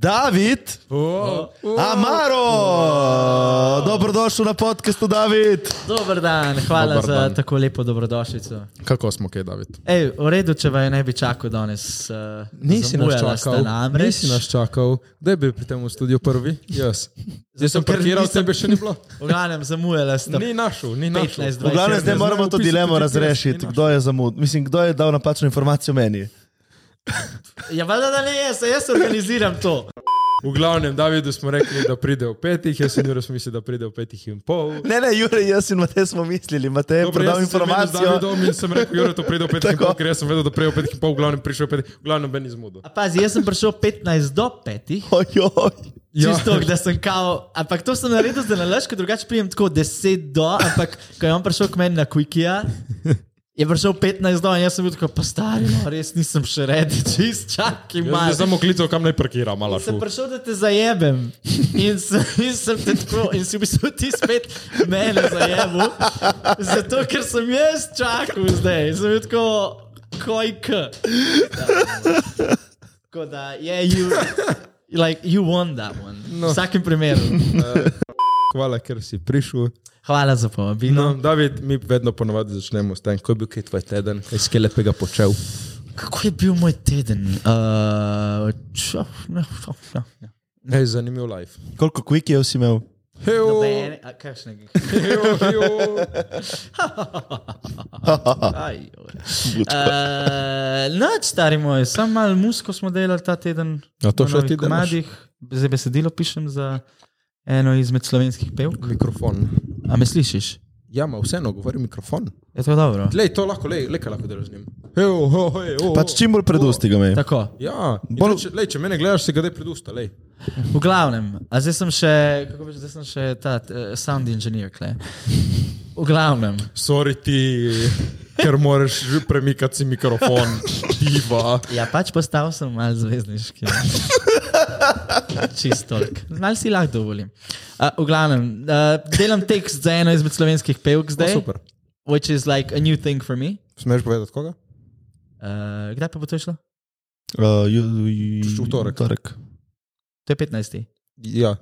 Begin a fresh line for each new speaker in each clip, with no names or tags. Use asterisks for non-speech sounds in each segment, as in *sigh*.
David
Wow.
Amaro. Dobrodošel na podkastu, David.
Dober dan, hvala
Dober
Dobar za
dan.
dan. tako lepo dobrodošlico.
Kako smo, kaj, David?
Ej, v redu, če vaju ne bi čakal danes. Uh,
Nisi nas
zamujala
čakal,
sta Namreč,
nisi nas čakal. Kdaj bi pri tem v studiu prvi? Jaz. Jaz sem
ker
parkiral,
nisem-
tebe še ni *laughs* bilo.
V glavnem, zamujala sta.
Ni našel,
15,
ni našel.
V glavnem zdaj
Ne
moramo
znam
to
upisati
dilemo
GPS,
razrešiti,
ni naš.
kdo je zamudil. Mislim, kdo je dal napačno informacijo meni.
Ja, valjda, da ne jaz, jaz organiziram to.
V glavnem, Davidu smo rekli, da pride v petih, jaz sem Jure mislil, da pride v petih in pol.
Ne, ne, Jure, jaz in Matej smo mislili, Matej je predal informacijo.
Davidom in sem rekel, Jure, to pride v petih in
Tako.
pol, ker jaz sem vedel, da pride v petih in pol, v glavnem prišel v petih, v glavnem ben izmudo.
A pazi, jaz sem prišel 15 do 5.
Ojoj.
Ja.
Čisto, da sem kao, ampak to sem naredil za nalaško, drugače prijem tako 10 do, ampak ko je on prišel k meni na Quikija, je prišel 15 do in jaz sem bil tako, pa stari, no, res nisem še redi, *laughs* čist, čakaj
Jaz
malo.
sem samo klical, kam naj parkira, mala
Sem
šu.
prišel, da te zajemem in sem, in sem te tako, in si v bistvu ti spet mene zajemal, zato ker sem jaz čakal zdaj, sem bil tako, kojk. Tako da, yeah, you, like, you won that one. No. V vsakem primeru.
Hvala, ker si prišel.
Hvala za povabilo.
No, David, mi vedno ponovadi začnemo s tem, ko je bil kaj tvoj teden, kaj si kaj lepega počel.
Kako je bil moj teden? Uh, čo, no, no, no, no.
Hej, zanimiv live.
Koliko kvikijev si imel?
Hejo,
Nobene, a kakšnega?
hejo, hejo.
Aj, joj. Eh, Noč, stari moj, samo malo musko smo delali ta teden.
Ja, to
na
še
novih
ti delaš?
komadih. Zdaj besedilo pišem za eno izmed slovenskih pevk.
Mikrofon.
A me slišiš?
Ja, ma vseeno govori mikrofon.
Je to dobro?
Lej, to lahko, lej, lej, kaj lahko delaš z njim. Hejo, hejo, hejo.
Pač čim bolj predusti ga me.
Tako,
Ja,
Bolj-
Bol... če, lej, če mene gledaš, se ga dej predusta, lej.
v glavnem, a zdaj sem še, kako bi rekel, zdaj sem še ta uh, sound engineer, kle. V glavnem,
Sorry ti, ker moraš že premikati si mikrofon, *laughs* diva. No,
ja pač postal sem mal *laughs* zvezdniški. Čisto. Mal si lahko dovolim. Uh, v glavnem, uh, delam tekst za eno izmed slovenskih pevk
No,
zdaj.
super.
which is like a new thing for me.
Smeš povedati koga?
Uh, kdaj pa bo to šlo?
Uh, ju- ju-
Čuš v torek.
torek.
To je 15.
Ja.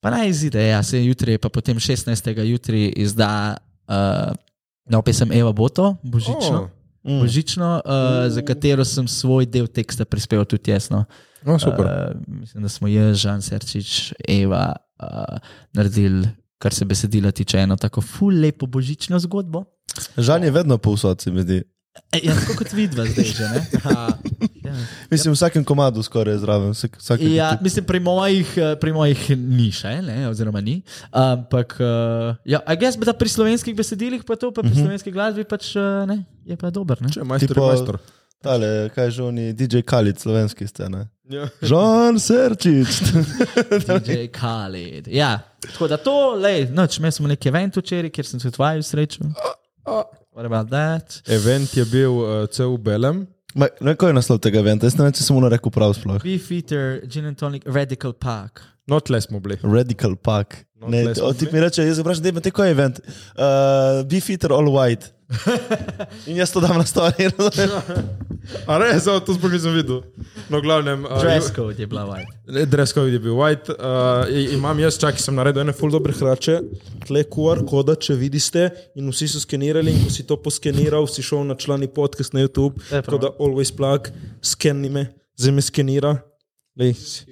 Pa naj izide, ja, se jutri, pa potem 16. jutri izda uh, nov pesem Eva Boto, božično,
Oh,
oh. božično uh, za katero sem svoj del teksta prispeval tudi jasno.
no, super.
Uh, mislim, da smo jaz, Žan Serčič, Eva uh, naredili, kar se besedila tiče, eno tako ful lepo božično zgodbo.
Žan je vedno povsod, se mi zdi.
E, ja, tako kot vidva zdaj že, ne? Ja.
Mislim, v vsakem komadu skoraj je zraven. Vsak, vsak
*laughs*
Ja, mislim, pri mojih, eh, pri mojih ni še, ne, oziroma ni. Ampak, eh, ja, a jaz bi da pri slovenskih besedilih, pa to pa pri slovenski glasbi pač eh, ne, je pa dober. Ne?
Mhm. *laughs* Če je majster,
Tipo-
je majster.
Tale, kaj že oni, DJ Kalic, slovenski scene.
Ja.
Žan Serčič.
DJ Khaled. Ja, tako da to, le, noč, imeli smo neki event včeraj, kjer sem se tvaju srečal. What about that?
Event je bil uh, cel v belem.
Ma, ne, kaj je naslov tega eventa? Jaz ne vem, če sem mu rekel prav sploh.
Beef Eater, Gin and Tonic, Radical Park.
No, tle smo bili.
Radical Pack.
No,
Ne,
tle smo
o, ti
bili.
mi reče, jaz vprašam, da je kaj event. Uh, Beefeater All
*laughs*
White. In jaz to dam na story. razumeš?
A res, o, to sploh nisem videl. No, v glavnem. Uh,
Dress code je bila white.
Dress code je bil white. Uh, i- imam jaz, čakaj, sem naredil ene full dobre hrače, tle QR koda, če vidite, in vsi so skenirali. In ko si to poskeniral, si šel na člani podcast na YouTube,
prav.
tako da always plug, skenni me, zdaj me skenira. Lej, si-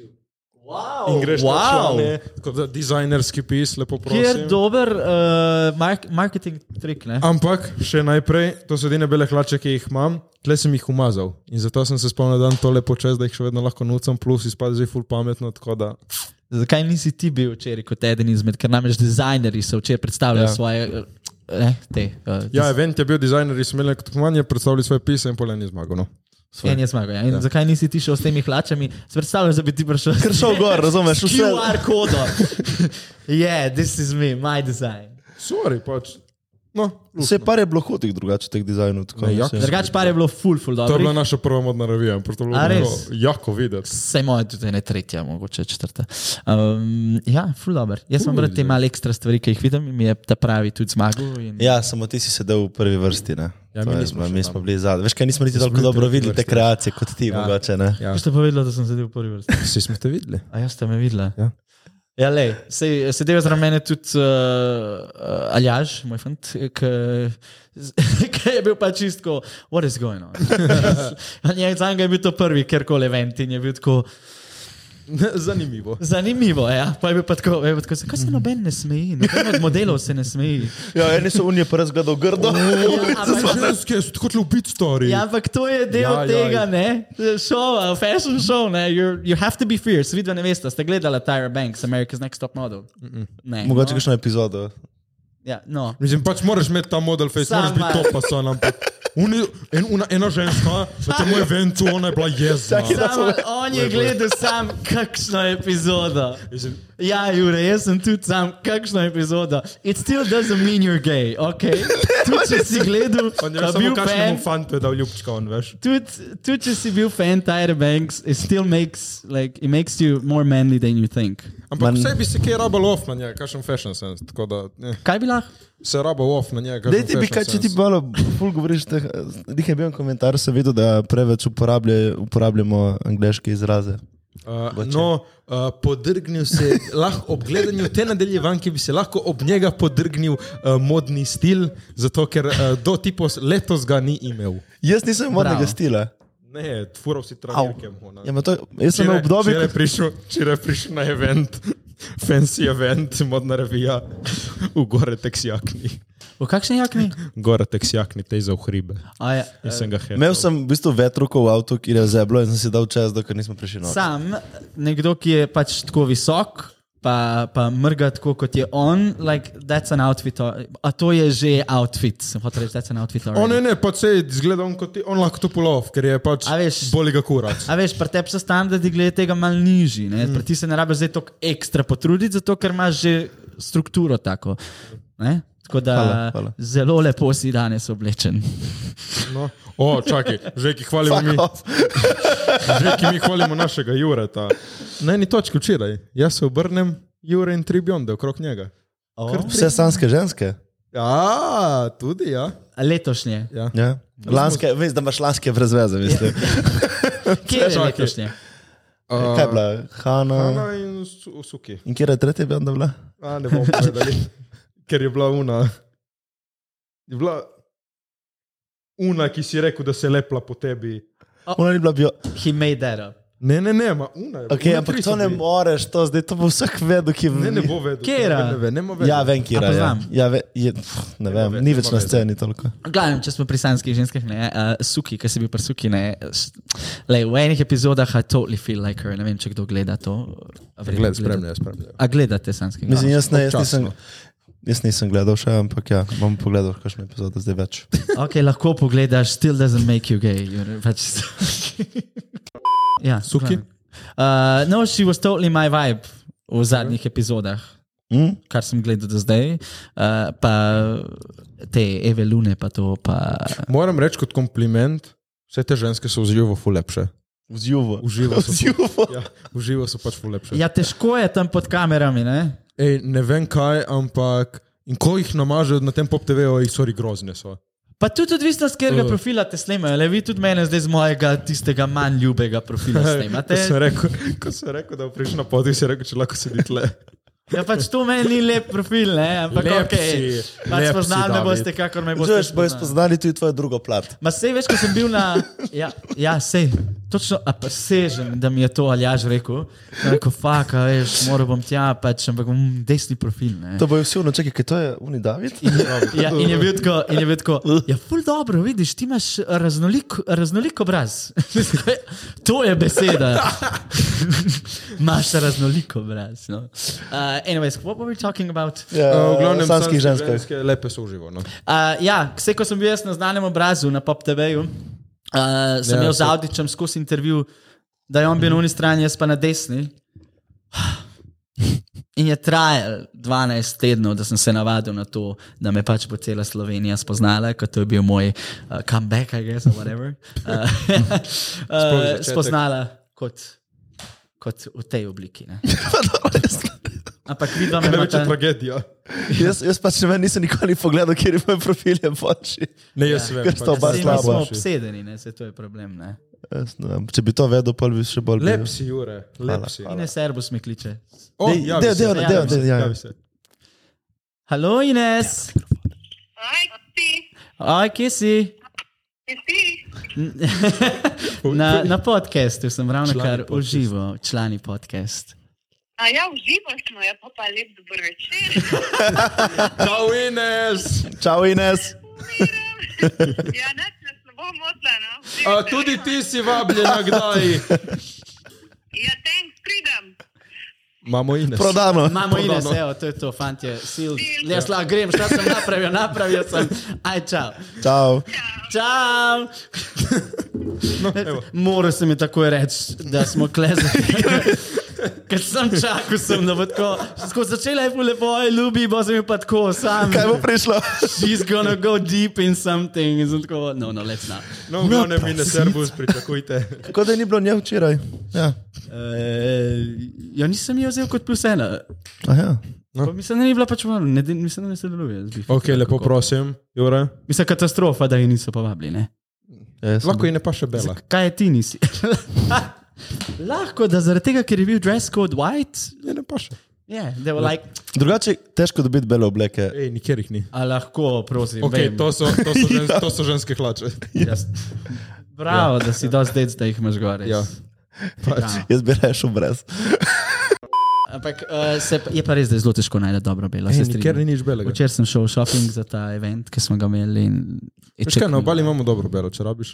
Wow,
in greš na člane, tako da dizajnerski pis, lepo
Kjer
prosim.
dober uh, mark marketing trik, ne?
Ampak še najprej, to so edine bele hlače, ki jih imam, tle sem jih umazal. In zato sem se spomnil, da imam to lepo čez, da jih še vedno lahko nucam, plus izpade zdaj full pametno, tako da.
Zakaj nisi ti bil včeraj kot eden izmed, ker namreč dizajnerji so včeraj predstavljali ja.
Ja.
svoje. eh, Ne, te, uh,
Ja, event je bil dizajner, ki smo imeli tekmovanje, predstavili svoje pise in polen je zmagal. No.
Svoj.
En je zmagal. Ja. In ja. zakaj nisi ti šel s temi hlačami? Se predstavljaš, da bi ti prišel
Ker šel gor, razumeš?
s
Vse,
QR kodo. *laughs* yeah, this is me, my design.
Sorry, pač. No,
vse par je bilo hudih drugače teh dizajnov. tako,
Ne, ja.
mislim.
Drugač par je bilo full, full
to je bila
dobro.
naša prva modna revija, ampak to je bilo
A, res?
noro jako videti.
Vse moje tudi ne tretja, mogoče četrta. Um, ja, full dobro. Jaz imam rad te male ekstra stvari, ki jih vidim in mi je ta pravi tudi zmagal. In...
Ja, samo ti si sedel v prvi vrsti. Ne?
Ja,
To
mi
je
nismo
zma-
še
mi
tam.
smo bili zadnji. Veš kaj, nismo niti tako
bili v
dobro
tretji
videli te
vrsti.
kreacije kot ti, ja. mogoče. Ne?
Ja.
Kaj ste povedali, da sem sedel v prvi vrsti?
Vsi smo te videli.
A jaz ste me videla.
Ja.
Ja, lej, sej, sedel je zraven mene tudi uh, uh, Aljaš, moj fant, *laughs* ki je bil pač čistko, what is going
*laughs*
on. Ja, Za njega je bil to prvi, kjerkoli event in je bil tako
Zanimivo.
zanimivo. Ja. Pa je bil pa tako, je bil tako zakaj
Mhm.
se noben ne smeji, noben od modelov se ne
*laughs*
smeji.
Ja, eni so unije prst gledal *laughs* grdo.
Ja, ampak,
Ženske so kot ljubit stvari.
ja, ampak to je del
Ja,
ja,
ja,
tega,
ja.
ne? Šova, fashion show, ne? You're, you have to be fierce. Vidva ne veste, ste gledala Tyra Banks, America's Next Top Model. Ne,
Mogoče
no.
kakšno epizodo.
Ja, no.
Mislim, pač moraš imeti ta model face,
Sam
moraš biti
malo.
to pa so nam. Uni, en, una, ena ženska, na tem eventu, ona je bila jezna.
Samo, on je gledal sam, kakšno epizodo.
Mislim,
Ja, Jure, jaz sem tudi sam, kakšno epizodo. It still doesn't mean you're gay, ok?
*laughs*
Tudi če si gledal,
On je
a
samo
bil
kažem
fan,
fantu, da ljubčka on, veš.
tudi tudi če si bil fan Tyra Banks, it still makes, like, it makes you more manly than you think.
Ampak
Man-
vse bi se kaj rabal off na njega, kažem fashion sense, tako da ne,
Kaj bi lahko?
se rabal off na njega.
Dej ti bi, kaj če ti malo ful govoriš, teh, nekaj je bil en komentar, sem videl, da preveč uporablja, uporabljamo angliške izraze.
Uh, no, uh, podrgnil se je, lahko ob gledanju te nadaljevanke bi se lahko ob njega podrgnil uh, modni stil, zato ker uh, do tipos letos ga ni imel.
Jaz nisem modnega
Bravo.
stila.
Ne, furov si trajerkem. ona.
Ja, ma to, jaz sem imel obdobje,
Včeraj
ko
je prišel, včeraj je prišel na event, *laughs* fancy event, modna revija, v gore teksjakni.
V kakšni jakni?
Gore teksjakni, te za uhribe.
A ja,
In sem ga hecel.
Eh, imel sem v bistvu vetruko v avtu, ki je zeblo in sem si dal čas, dokler nismo prišli na
sam, nekdo, ki je pač tako visok, pa, pa mrga tako kot je on, like, that's an outfit. al- A to je že outfit, sem hotel reči, that's an outfit. already.
On ne, ne, pač se je zgledal on kot ti, on lahko to pulov, ker je pač
A veš-
boli ga kurac.
A veš, pri tebi so standardi glede tega malo nižji.
Hmm.
Mm. Pri ti se ne rabiš zdaj tako ekstra potruditi, zato ker imaš že strukturo tako. Ne? Tako da
Hvala, hvala.
zelo lepo si danes oblečen.
No. O, čakaj, že ki hvalimo mi, že ki mi hvalimo našega Jureta. Na eni točki včeraj, jaz se obrnem, Jure in tri bionde okrog njega. Kar tri-
Vse sanske ženske.
Ja, tudi ja.
Letošnje.
*laughs*
ja.
Ja. Lanske, veš, da imaš lanske brez veze, veste.
Kje je
čakaj.
letošnje?
Uh,
Kaj je bila? Hanna.
Ana in Su- Suki.
In kje je tretja benda bila?
A, ne bomo *laughs* povedali, ker je bila una. Je bila una, ki si rekel, da se je lepla po tebi.
Ona ni bila bio.
He made that up.
Ne, ne, ne, ma una. je bila.
Okay,
Una
ampak
tri
to
so
ne
bili.
moreš, to zdaj to bo vsak vedel, ki
Ne, ne bo vedel.
Kera?
Ne, ve, ne, ve,
Ja, vem, kje
A
je. Ja,
poznam.
ja ve, je, pff, ne vem,
ve-
ni
nima
več na
veze.
sceni toliko.
Glavno, če smo pri sanskih ženskah, ne, uh, suki, ki si bil pri suki, ne, s- lej, v enih epizodah I totally feel like her. Ne vem, če kdo gleda to. Verjetno
Gled,
gleda.
spremljaj, spremljaj.
A gledate sanske?
Mislim, jaz, ne, jaz,
občasno.
nisem, jaz nisem gledal še, ampak ja, bom pogledal, kakšno epizodo zdaj več.
Okay, lahko pogledaš, still doesn't make you gay. You're, pač, ja,
Suki?
Uh, no, she was totally my vibe v zadnjih epizodah,
Mm?
kar sem gledal do zdaj. Uh, pa te Eve Lune, pa to. Pa,
Moram reči kot kompliment, vse te ženske so v živo ful lepše.
V zjuvo.
V živo so, ful-
zjuvo.
ja, v živo so pač ful lepše.
ja, težko je tam pod kamerami, ne?
Ej, ne vem kaj, ampak in ko jih namažejo na tem pop TV-ju, jih sorry grozne so.
Pa tudi odvisno, z katerega
Uh.
uh. profila te snemajo. Le vi tudi mene zdaj z mojega, tistega manj ljubega
*laughs*
profila
Ko sem
snemate.
rekel, ko sem rekel da boš prišel na podij, si rekel, če lahko sedi
*laughs*
tle.
Ja, pač to meni ni lep profil, ne? Ampak
Lep
ok,
si, lep
pač
si,
spoznali me
David.
boste, kakor me boste.
Že boš spoznali tudi tvojo drugo plat.
Ma sej veš, ko sem bil na. Ja, ja sej. Točno, a presežem, da mi je to Aljaž rekel. Sem Rekel, fuck, a veš, moral bom tja, pač, ampak bom desni profil. Ne.
To bojo vsi vno, čakaj, kaj to je, Uni David?
Ja, in je bil tako, in je bil tako ja, ful dobro, vidiš, ti imaš raznolik, raznolik obraz. *laughs* to je beseda. *laughs* Imaš raznolik obraz. No. Uh, anyways, what were we talking about?
Ja,
Uh, v
o
glavnem,
sanskih ženskah.
Ženske lepe so v živo. No.
Uh, ja, vse, ko sem bil jaz na znanem obrazu na Pop TV-ju, Uh, sem
Ja,
imel z
to-
Avdičem skozi intervju, da je on bil na uni strani, jaz pa na desni. In je trajal 12 tednov, da sem se navadil na to, da me pač bo cela Slovenija spoznala, kot to je bil moj uh, comeback, I guess, or whatever. *laughs* Uh, uh,
začetek.
spoznala kot, kot v tej obliki. Ne? Ampak vidim, da
Največja
je
tragedija.
jaz, jaz pač ne vem, nisem nikoli pogledal, kjer je moj profil je boljši.
Ne, jaz vem.
ker sta oba
pač.
slaba.
Smo obsedeni, ne? se to je problem. Ne?
Jaz ne vem, Če bi to vedel, pa bi še bolj
Lep si, Jure, lep
Hvala,
si.
Ines Erbus me kliče.
O,
Dej,
javi
dej,
se,
dej,
javi
dej,
se,
dej, ja.
javi se.
Halo, Ines,
Ajci,
aj, kje si?
jesi,
Na, na podkastu sem ravno
Člani
kar
podcast.
užival, člani podcast.
a ja uživaš, no ja pa pa lep dober večer.
Čau, Ines!
Čau, Ines.
Ja, nas je slabo motla, no.
A, tudi ti si vabljena kdaj.
Ja, thanks, pridem.
Imamo Ines.
Prodano.
Imamo Ines,
no.
evo, to je to, fantje, sil.
ja.
Jaz lahko grem, šta sem napravil, napravil sem. Aj, čau.
Čau.
Čau!
No, evo.
Moral sem ji takoj reči, da smo
*laughs*
klezali. Ker sem čakal, sem da bo tako. Ko začela je bilo lepo, "Oj, ljubi, bo se mi pa tako sam.
Kaj bo prišlo?
She's gonna go deep in something. In sem tako, no, no, let's not.
No, v glavnem Ines Erbus, pričakujte.
Kot da ni bilo nje včeraj. Ja.
Uh, ja, nisem jo vzel kot plus ena.
Aha.
Pa Mislim, da ni bila pač malo, ne, de- mislim, da ne sodeluje. z Bifi.
Ok, lepo prosim, Jure.
Mislim, katastrofa, da je niso povabili. Ne?
Ja, jaz sem
Lahko je ne pa še bela.
Kaj je ti
*laughs*
nisi? Lahko, da zaradi tega, ker je bil dress code white,
Ne, ne pa še.
yeah, they were like,
bil- Drugače, težko dobiti bele obleke.
Ej, nikjer jih ni.
a lahko, prosim.
Ok,
vem."
to so, to so, *laughs* žen, to so ženske hlače.
Jaz- *laughs* Bravo, da si dosti dec, da jih imaš gore.
*laughs* Ja.
Bravo.
Pač, Jaz bi rešil brez.
Ampak uh, se, pa- je pa res, da je zelo težko najti dobro belo. se
Ej,
strinjam.
nikjer ni nič belega.
Včeraj sem šel v šoping za ta event, ki smo ga imeli. in- je
Veš kaj, na
čaknil.
obali imamo dobro belo, če rabiš.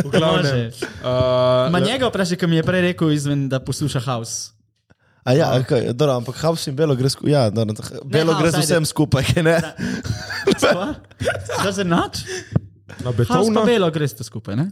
V glavnem.
Može.
Uh,
Ma njega vprašaj, ki mi je prej rekel, izven, da posluša house.
A ja, a kaj, dobro, ampak haus in belo gre skupaj. Ja, dobro, to- belo
house,
gre z
No. ajde. Ja.
vsem skupaj, kaj ne?
Sva? Does it not?
na
Haus pa
betonu.
belo greš to skupaj, ne?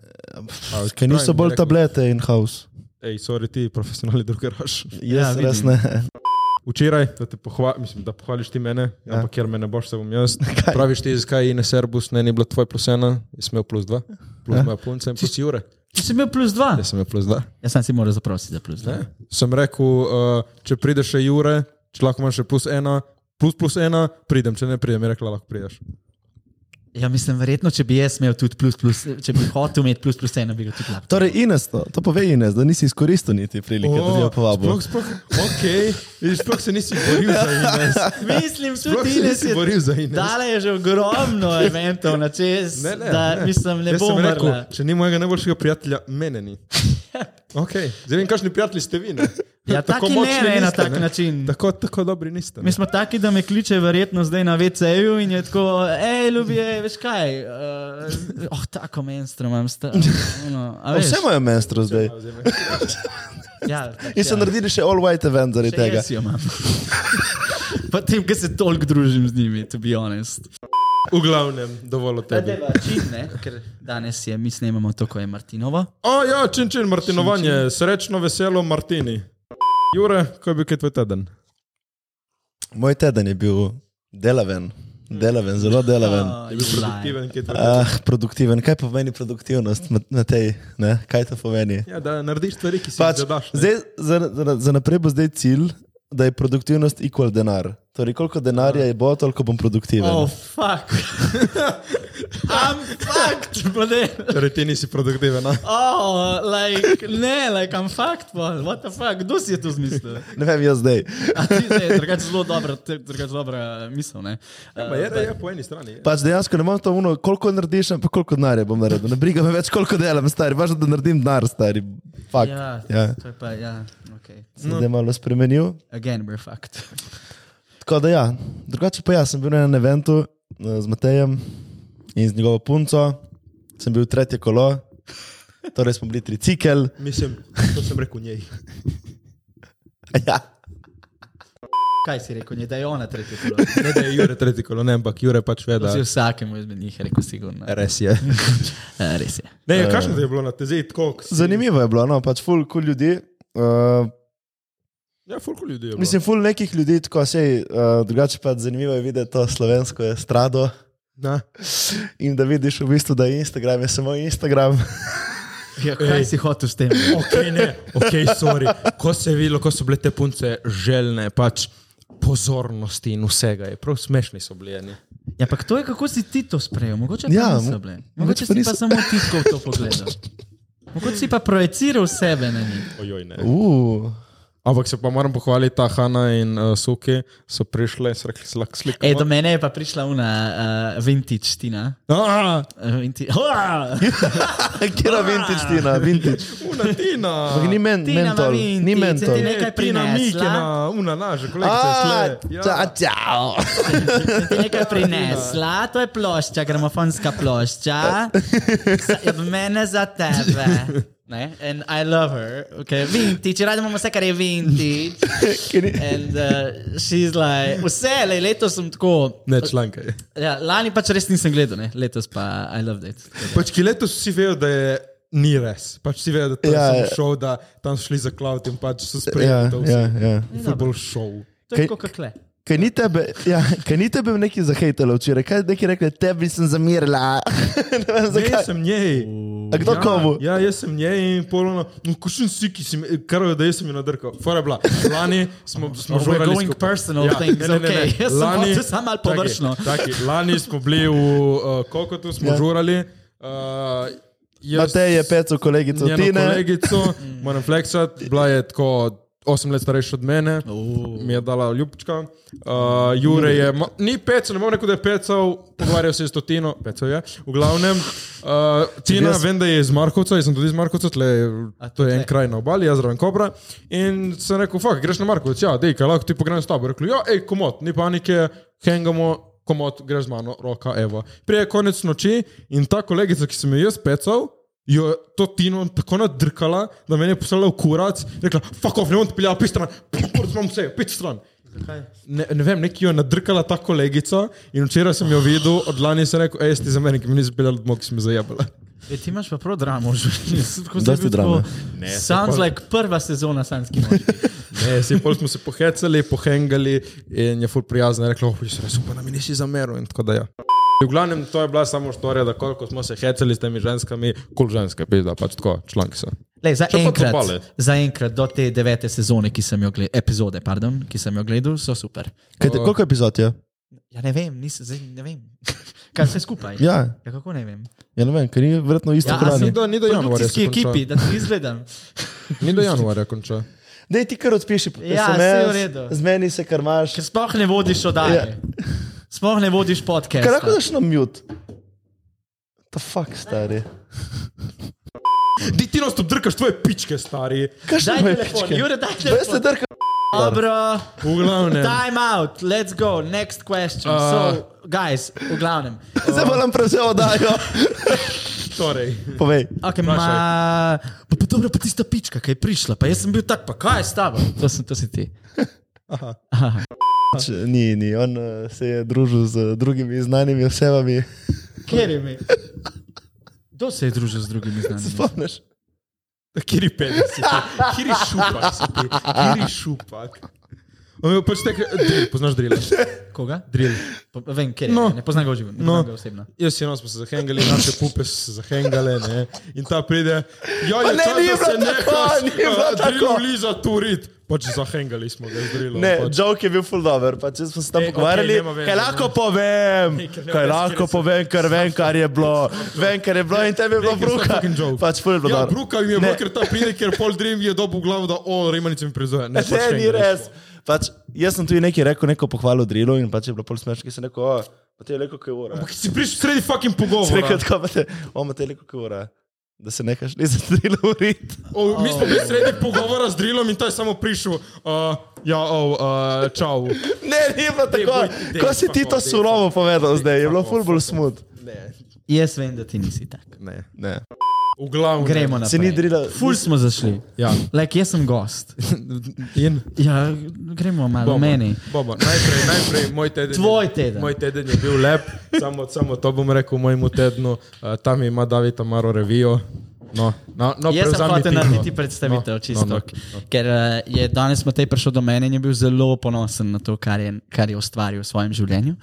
A,
Ker niso
pravim,
bolj
bi rekel,
tablete in haus.
Ej, sorry, ti profesionalni drugeraš.
Ja,
Jaz ja, res
vidim.
ne.
Včeraj, da te pohvališ, mislim, da pohvališ ti mene, ja. ampak ker me ne boš, se bom *laughs* jaz.
Kaj?
Praviš ti, zakaj je Serbus, ne, ni bilo tvoj plus ena, jaz sem imel plus dva, plus
Ja.
moja punca in plus Jure.
Ti si imel plus dva.
Jaz sem imel plus dva.
Jaz sem si moral zaprositi za plus dva.
Ne? Sem rekel, uh, če prideš še Jure, če lahko imaš še plus ena, plus plus ena, pridem, če ne pridem, je rekla, lahko prideš.
Ja, mislim, verjetno, če bi jaz imel tudi plus, plus če bi hotel imeti plus plus eno, bi ga tudi lahko.
Torej, Ines, to, to pove Ines, da nisi izkoristil niti prilike, da bi jo povabil.
sploh, sploh, okay. sploh se nisi boril za
*laughs*
Ines.
Mislim,
Sploh
tudi
se
Ines
nisi
je
boril za Ines.
dala je že ogromno eventov na čez,
Ne, ne,
da
ne.
mislim, ne
Jaz sem
bom
rekel,
umrla.
če ni mojega najboljšega prijatelja, mene
*laughs*
ni. Okay. Zdaj vem, kakšni prijatelji ste vi. Ne?
Ja, taki ne,
močni
ne, na
niste,
tak način.
Tako, tako dobri niste. ne.
Mi smo taki, da me kliče verjetno zdaj na VC-ju in je tako, hej, ljubi, ej, veš kaj, uh, oh, tako menstrum imam. *laughs* Sta, ono, a
A
veš,
Vse imajo menstro zdaj.
ja, pač
In so
ja.
naredili še all white event zaradi
Še
tega.
Jaz ja. jo imam. *laughs* Pa tem, ki se toliko družim z njimi, to bi honest.
V glavnem, dovolj o tebi.
Deva, čin, ne? Ker danes je, mi snemamo to, ko je Martinovo.
O, ja, čin, čin, Martinovanje, čin, čin. srečno, veselo, Martini. Jure, kaj bi kaj tvoj teden?
Moj teden je bil delaven,
Mm.
delaven, zelo
Um,
delaven.
Ja. Uh,
Je bil produktiven, kaj tvoj teden?
Ah, produktiven. Kaj pomeni produktivnost Mat- na tej? Ne? Kaj to pomeni?
Ja, da narediš stvari, ki si jih
Pač,
*laughs* zadaš. ne.
zdaj, za, za, za naprej bo zdaj cilj, da je produktivnost equal denar. Torej, koliko denarja je bo, toliko bom produktiven.
Ja. Oh, fuck. *laughs* I'm fucked, brother.
Torej, ti nisi produktiven. no. a?
Oh, like, ne, like, I'm fucked, bol. What the fuck, kdo si je to zmislil?
Ne vem, jaz zdaj.
A ti zdaj, drugače zelo dobra, te- drugače dobra eh, misel, ne? Eh, ja,
Pa je, je po eni strani. je.
Pač dejansko ne imam to uno, koliko narediš, ampak koliko denarja bom naredil. Ne briga me več, koliko delam, stari, važno, da naredim denar, stari. Fak.
Ja,
Ja.
to je pa, ja, ok.
Sem zdaj malo spremenil.
Again, we're fucked. *laughs*
Tako da ja, drugače pa jaz sem bil na enem eventu eh, z Matejem in z njegovo punco, sem bil tretje kolo, torej smo bili *laughs* tricikl.
Mislim, to sem rekel njej.
Ja.
Kaj si rekel, ne, da je ona tretje kolo?
Ne, da je Jure tretji kolo, ne, ampak Jure pač ve, da
Si vsakemu izmed njih rekel, sigurno.
Res je.
Ja, Res je.
Ne, kakšno je bilo na tezi, tako. k-
*laughs* Zanimivo je bilo, no, pač full kul cool ljudi. Uh,
Ja, fulko ljudi je bilo.
mislim, full nekih ljudi, tako sej, uh, drugače pa zanimivo je videti to slovensko estrado
Na.
in da vidiš v bistvu, da je Instagram je samo Instagram.
Ja, kaj
Ej.
si hotel s tem?
Ok, ne, ok, sorry. Ko se je videlo, ko so bile te punce željne, pač pozornosti in vsega, je prav smešni so bili. eni.
Ja, ampak to je kako si ti to sprejel, mogoče pa
Ja,
ja,
mo-
niso bile.
mogoče
Mogoče
pa
si
niso.
pa samo ti tako v to pogledal. Mogoče si pa projiciral sebe na njih.
Ojoj, ne.
*laughs* Uh,
Ampak se pa moram pohvaliti, ta Hanna in uh, Suki so prišle in so rekli, slak slik.
E, do mene je pa prišla una uh, vintage tina.
Ah,
Uh, vinti *laughs* Hoa!
Kjer je vintage, Tina, vintage.
una Tina.
Ampak Ni men,
Tina ima
mentol,
vintage,
ni
je
mentol.
ti nekaj
Tina
prinesla.
Mikina, no, una naša
A,
kolegica. iz Sle.
ča-
Ja.
čao.
Sem ti nekaj prinesla, to je plošča, gramofonska plošča. Sa- Od mene za tebe. Ne? And I love her. Okay. Vintage, rada imamo vse, kar je vintage.
Ker ni-
And uh, she's like, vse, le, letos sem tako.
Ne, članke.
Ja, lani pač res nisem gledal, ne? letos pa I love it.
Pač ki letos vsi vejo, da je. Ni res, pač si vedel, da to je
Ja,
ja,
ja.
šov, da tam so šli za klavt in pač so
Ja,
sprejeli to
ja,
vse.
ja.
Futbol šov.
To je
Kaj-
kot kakle.
Kaj ni tebe, ja, *laughs* kaj ni tebe neki zahejtalo včeraj, kaj neki rekli, tebi sem zamirila. *laughs* ne vem
Ne,
zakaj.
jaz sem njej.
A kdo komu?
Ja, jaz sem njej in polno, no, kušen si, ki si, mi- kar je, da jaz sem jo nadrkal. Fora je bila, lani smo, smo
Oh, we're
žurali
going
skupaj. Ja.
personal things, okay. *laughs* Jaz sem hotel samo malo
čakaj,
površno.
čakaj, lani smo bili v uh, Kokotu, smo
Ja.
ja. žurali. Uh,
Matej je pecal kolegico
njeno
Tine.
kolegico, moram fleksati, bila je tako 8 let starejša od mene,
Uh.
mi je dala ljubčka. Uh, Jure je, ma- ni pecal, ne bom rekel, da je pecal, pogovarjal se je s Totino, pecal je. V glavnem, uh, Tina,
Jaz-
vem, da je iz Markovca, jaz sem tudi iz Markovca, tle,
A,
to je
tle.
en kraj na obali, jaz zraven Kobra. In sem rekel, fuck, greš na Markovec, ja, dej, kaj lahko ti pogrem s tabo. Rekli, ja, hej, komod, ni panike, hengamo. Komod, greš z mano, roka, evo. Prije je konec noči in ta kolegica, ki sem jo jaz pecal, jo je to Tino tako nadrkala, da me je poslala v kurac, rekla, fuck off, ne bom te peljala, pit stran, pit stran, vse, pit stran. Ne, ne vem, neki jo je nadrkala ta kolegica in včeraj sem jo videl, od lani sem rekel, ej, ste za mene, ki mi nisi peljala domov, ki si me zajabala.
E, ti imaš pa prav dramo *laughs* v življenju.
Dosti drame.
Ne, Sounds like prva sezona Sanski
*laughs*
mož.
Ne, se, pol smo se pohecali, pohengali in je ful prijazna rekla, oh, jaz res upam, da mi nisi zameril in tako da ja. V glavnem, to je bila samo štorija, da koliko smo se hecali s temi ženskami, kul ženske, pizda, pač tako, članki so.
Lej, za,
Če pa
enkrat,
propale.
za enkrat do te devete sezone, ki sem jo gledal, epizode, pardon, ki sem jo gledal, so super.
Kaj te, koliko epizod je?
Ja, ne vem, nisem, zdaj ne vem. *laughs* Kaj vse skupaj?
Ja,
ja kako ne vem?
ja ne vem, ker ni verjetno isto
Ja, a
kraj.
Ni do, ni do januarja,
Produkcijski
se
ekipi, da
konča.
ti izgledam.
Ni do januarja konča.
Dej ti kar odpiši,
Ja,
SMS,
saj v redu.
z meni se kar imaš.
Ker sploh ne vodiš oddaje.
Ja.
Yeah. Sploh ne vodiš
Kaj lahko
podcasta.
daš na mute? Ta fuck, stari.
Di ti nas obdrkaš tvoje pičke, stari.
Kaj še
Daj
moje
telefon,
pičke?
Jure, daj
Jaz se
telefon.
drkam.
Dobro,
V glavnem.
time out, let's go, next question. Uh.
Uh.
So, guys, v glavnem.
Zdaj moram prevzel
*laughs*
oddajo.
Torej.
Povej.
Okay, ma... pa, pa dobro, pa tista pička, ki je prišla, pa jaz sem bil tak, pa kaj je s tabo? To, sem, to si ti.
Č- Ni, ni, on eh, se je družil z eh, drugimi znanimi osebami.
Kjer je mi? Kdo se je družil z drugimi znanimi?
*laughs* Spomniš?
Kiri pedek si ti, kiri šupak si ti, kiri šupak. O, Pač tek, drill, poznaš drill.
Koga?
Drill.
Po, vem, kjer je.
No.
No. Ne poznam ga v življenju, ne
No.
poznam ga osebno.
Jaz in on smo se zahengali, naše pupe so se zahengale. Ne? In ta pride, ja,
Pa
je
ne,
čas, da
ni bilo
se
tako, ni bilo tako."
nekaj liza turit. Pač zahengali smo ga, zdrilo.
Ne,
pač.
joke je bil full dober, pa če smo se tam
Ej,
pogovarjali,
E, okej, nema veze,
kaj
nema
lahko
*laughs*
povem,
ker ne
kaj
vem,
lahko
kjer sem.
povem, ker vem, kar je bilo, vem, kar je bilo in tebi je bilo
Ne, ker sem
bruha.
fucking joke.
Pač full je bilo
Ja,
dobro.
bruka jim je
Ne.
bilo, ker ta pride, ker pol dream je dobil glavo, da o, rejmanice mi prizoje. Ne,
Ne,
pač
ni
hengali
res.
smo.
Pač, jaz sem tudi nekaj rekel, neko pohvalo drilu in pač je bilo pol smešno, ki sem rekel, o, pa ti je rekel, kaj ura.
Ampak si prišel sredi fucking
Sem rekel,
pogovora.
tako pa te, o, ma ti je rekel, kaj ura. Da se nekaš ne za drilo urit. *laughs*
O, mi smo bili sredi pogovora z drilom in ta je samo prišel. Uh, ja, o, uh, čau.
Ne, ni bilo tako.
boj, dej,
Ko si ti
fuck
to
off, dej,
surovo povedal zdaj, je bilo
fuck
full
off,
bolj
fuck
smut.
Ne,
Jaz vem, da ti nisi tak.
ne.
Ne.
V glavnem.
Gremo naprej.
Se ni drila-
Ful smo zašli.
Ja.
Lek, jaz sem gost.
In?
Ja, gremo malo,
Boban.
meni.
Boban. Najprej, najprej moj teden.
Tvoj
je,
teden.
Moj teden je bil lep, samo, samo to bom rekel mojemu tednu. Uh, tam ima David Amaro revijo. No, no, no,
Jaz sem
prevzami
hotel
ti, no.
narediti predstavitev,
No,
čisto. No,
no, no,
no. Ker eh, je danes Matej prišel do mene in je bil zelo ponosen na to, kar je, kar je ustvaril v svojem življenju.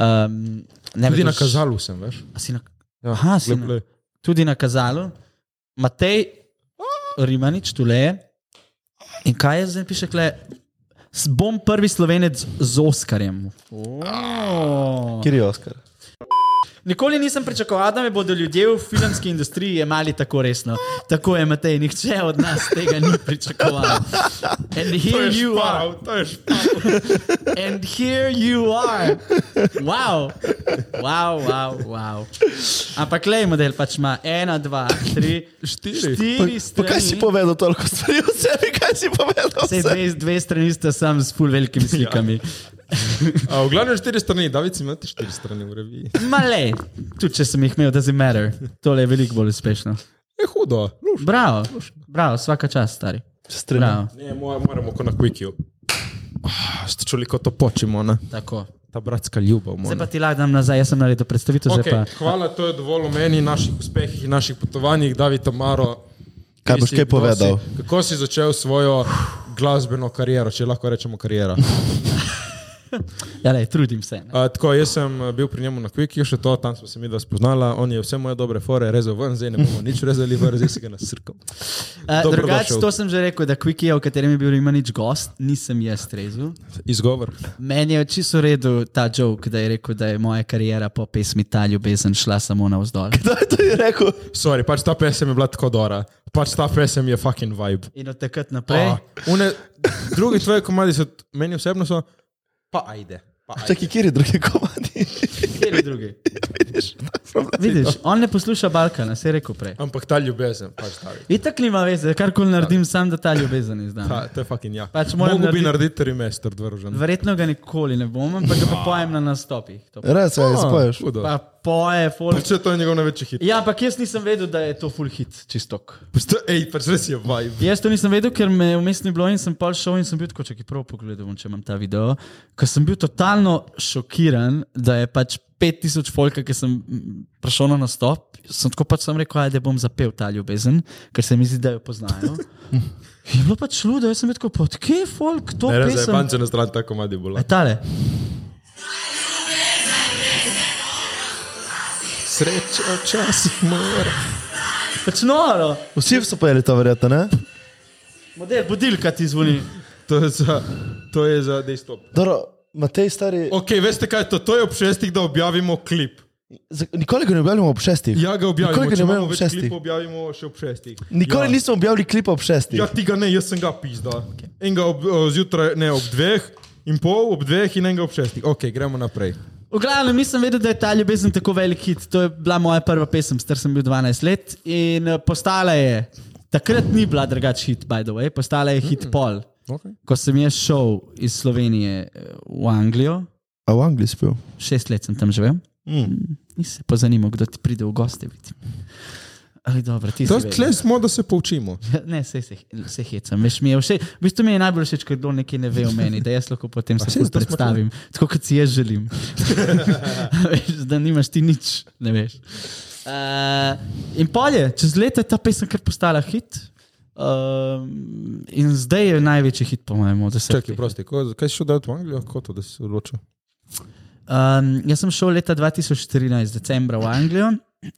Um, ne
Tudi
vedo,
na
š-
kazalu sem, veš.
a si Na,
Ja,
aha, si
glej,
na,
glej.
tudi na kazalu. Matej Rimanič, tule je. In kaj je zdaj piše, kle? S- Bom prvi slovenec z Oskarjem. Oh.
Kjer je Oskar?
Nikoli nisem pričakoval, da me bodo ljudje v filmski industriji jemali tako resno. Tako je, Matej, nihče od nas tega ni pričakoval. And
To
here
je
you are.
šparal, to je šparal.
And here you are. Wow, wow, wow. wow. Ampak le model pač ima ena, dva, tri,
Štiri.
štiri
Pa kaj si
strani.
povedal toliko stvari o sebi, kaj si povedal? o
Saj
sebi?
dve, dve strani sta sam s full
Ja.
velikimi slikami.
A, V glavnem štiri strani, David si imel te štiri strani v reviji.
Male, tudi če sem jih imel, da se matter. Tole je veliko bolj uspešno.
Je hudo. no. luš.
Bravo, bravo, vsaka čast, stari.
Strani.
Bravo,
Ne, mora- moramo kot na Quickiu. Ah, Ste čuli, kako to počimo, ne?
tako.
Ta bratska ljubav.
Zdaj
mona.
pa ti lahko dam nazaj, jaz sem naredil predstavitev, zdaj pa.
Okay, hvala, to je dovolj o meni, naših uspehih in naših potovanjih, David Amaro.
Kaj
ti
boš
si-
kaj
kdo
povedal?
Si, kako si začel svojo glasbeno kariero, če lahko rečemo kariera?
Ja, lej, trudim se. ne.
Uh, tako, jaz sem eh, bil pri njemu na Quickiu, še to, tam smo se mi dva spoznala, on je vse moje dobre fore rezal ven, zdaj ne bomo nič rezali ven, zdaj si ga nasrkal.
A,
Dobrodošel.
Eh, Drugače, to sem že rekel, da Quickie, v katerem je bil Rimanič gost, nisem jaz rezel.
Izgovor.
Meni je čisto v redu ta joke, da je rekel, da je moja karijera po pesmi Ta ljubezen šla samo navzdol.
Da je to je rekel.
Sorry, pač ta pesem je bila tako dora, pač ta pesem je fucking vibe.
In od takrat
Pa,
naprej.
une, drugi tvoji komadi so t- meni osebno so, pa ajde. Pa ajde.
Čakaj, kjer je drugi komadi? *laughs*
Kateri drugi? Vidiš, on ne posluša Balkana, se je rekel prej.
Ampak ta ljubezen, pač ta.
Itak nima veze, karkoli naredim, sam da ta ljubezen izdam.
Ta, to je fucking ja.
Pač
Pač
moram
Mogoče bi
narediti-
narediti trimester, dvoržen.
Verjetno ga nikoli ne bom, ampak ga pa pojem na nastopih. To
Res, ja, spoješ.
Pa poje, folk.
Če Pač to je njegov največji hit.
Ja, ampak jaz nisem vedel, da je to full hit, čistok.
Pač to- Ej, pač res je vibe.
Jaz to nisem vedel, ker me vmes ni bilo in sem pa šel in sem bil tako, če ki prav pogledal, bom, če imam ta video, ker sem bil totalno šokiran, da je pač 5000 folka, ki sem mm, prišel na nastop, sem tako pač sam rekel, "Ajde, da bom zapel ta ljubezen, ker se mi zdi, da jo
*laughs*
poznajo. Je bilo pač ludo, jaz sem bil tako, "Pa od kje je folk, to
Ne, res je,
pesem.
banče na stran ta komadi bila.
E, tale.
Sreča včasih mora.
Pač noro,
Vsi so pojeli to, verjetno, ne?
model budilka ti zvoni.
To je za, to je za desktop.
Dobro, Matej, stari,
Ok, veste kaj je to? To je ob šestih, da objavimo klip.
za- nikoli ga ne objavljamo ob šestih.
Ja, ga objavimo.
Nikoli ga
Če imamo
ne objavljamo ob
več
šestih.
klipov, objavimo še ob šestih.
Nikoli
ja.
nismo objavili klipa ob šestih.
Ja, ti ga ne, jaz sem ga pisal. Okay. Enega ob, o, zjutraj, ne ob dveh in pol, ob dveh in enega ob šestih. Ok, gremo naprej.
V glavnem nisem vedel, da je ta ljubezen tako velik hit. To je bila moja prva pesem, star sem bil 12 let in eh, postala je. Takrat ni bila drugačen hit, by the way, postala je hit pol.
Okay.
Ko sem jaz šel iz Slovenije eh, v Anglijo,
A v Angliji spil.
šest let sem tam živel, mm. nisem se pozanimal, kdo ti pride v goste. Vidim. Ali dobro, ti
To,
si. vedel.
tle smo, da se poučimo.
Ne, se, se, se hecam. Veš, mi je vše, v bistvu mi je najbolj všeč, ko kdo nekaj ne ve o meni, da jaz lahko potem se
saj,
ful
to smo tu.
predstavim, tako kot si jaz želim. *laughs* veš, da nimaš ti nič, ne veš. Uh, in polje, čez leta je ta pesem kar postala hit. Um, in zdaj je največji hit, po mojem, od vseh.
Čakaj, prosti, ko, kaj si šel delati v Anglijo, kako to, da si se odločil?
Um, jaz sem šel leta 2014, decembra v Anglijo,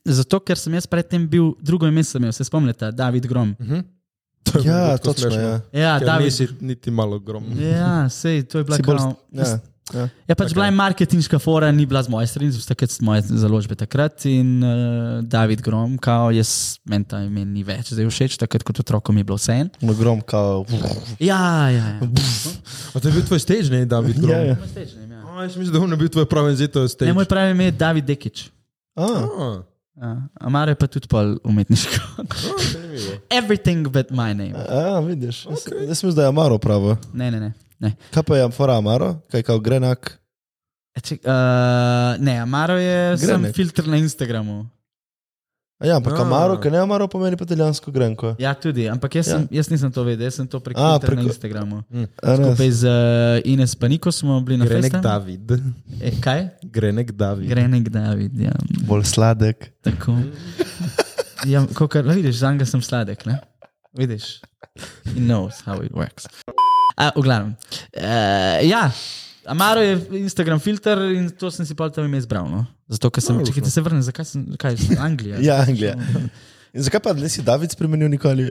zato ker sem jaz predtem bil drugo ime, sem imel, se spomnite, David Grom.
To je bilo
Ja,
tako
točno,
smešno.
ja.
Ja,
Mhm. Ker
David.
nisi niti malo ogromen.
Ja, sej, to je bila
Si bolj...
kao-
Ja, ja.
Ja, pač okay. bila je marketinška fora, ni bila z moje strani, so takrat so moje založbe takrat in uh, David Grom, kao jaz, meni ta ime ni več, zdaj všeč, takrat kot otrokom je bilo vse en.
No, grom, kao.
Ja, ja, ja.
A to je bil tvoj stage, ne, David? Grom?
Ja, ja.
Moj stage name, ja.
A, jaz mislim, da on je bil tvoj pravi zid, to je stage.
Ne, moj pravi ime je David Dekič.
A,
A,
Ja, Amaro je pa tudi pol umetniško.
zanimivo.
*laughs* Everything but my name.
a vidiš. Jaz sem- jaz mislim, da je Amaro pravo.
Ne, ne, ne. Ne,
Kaj pa je fora Amaro? Kaj kao grenak?
e, ček, uh, ne Amaro je
Gre,
sem
ne.
filter na Instagramu.
A Ja, ampak
Ah.
Camaro, ker ne Amaro pomeni pa italijansko grenko.
Ja, tudi, ampak jaz, sem, jaz nisem to vedel, jaz sem to prek
A,
Twittera na
preko-
Instagramu.
A res?
Skupaj z uh, Ines Paniko smo bili na
Gre nek
Facebooku.
David.
E, kaj?
Gre nek David.
Gre nek David, ja.
Bolj sladek.
Tako. Ja, kakor, vidiš, za njega sem sladek, ne? Vidiš. He knows how it works. A, v glavnem. Uh, ja, Amaro je Instagram filter in to sem si pa tam ime izbral. No? Zato, ker sem, čekaj, da se vrnem, zakaj sem, kaj sem, Anglija.
*laughs* Ja, Anglija. In zakaj pa nisi David spremenil
*laughs*
nikoli?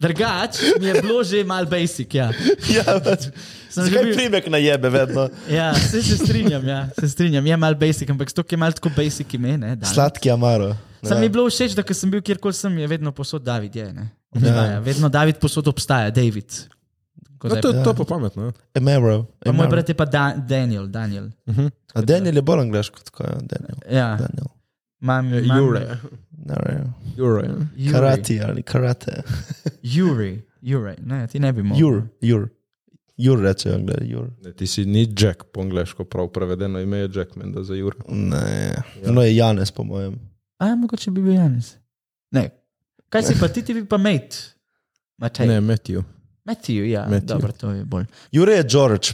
Drugač mi je bilo že mal basic, ja.
ja, pač.
Sem že
Zakaj
bil-
primek na jebe vedno?
Ja, se, se strinjam, ja, se strinjam. Je mal basic, ampak to je mal tako basic ime, ne? David.
Sladki Amaro.
Sam
Ja.
mi je bilo všeč, da ko sem bil kjerkoli sem, je vedno posod David. Je, ne? obstaja, vedno David posod obstaja, David. Tako da
No,
je-
to, je- to pa pametno.
Amaro.
Pa moj
Amaro.
brat je pa da, Daniel. Daniel.
A Daniel je bolj angliško, tako je. Daniel.
Ja,
Daniel.
mam, mam,
Ja, Jure.
Ne, ne.
Jure.
Juri.
Karate ali karate.
Juri. Juri. Ne, ti ne bi mogel.
Jur, jur. Jur rečejo, gledaj, jur.
Ne, ti si ni Jack po angliško, prav prevedeno ime je Jack, menda za Jure.
Ne, no je Janes, po mojem.
A ja, mogoče bi bil Janis. Ne. Kaj si pa ti, ti bi pa mate? Matej.
Ne, Matthew.
Matthew, ja,
Matthew.
Matthew. dobro, to je bolj.
Jure je George.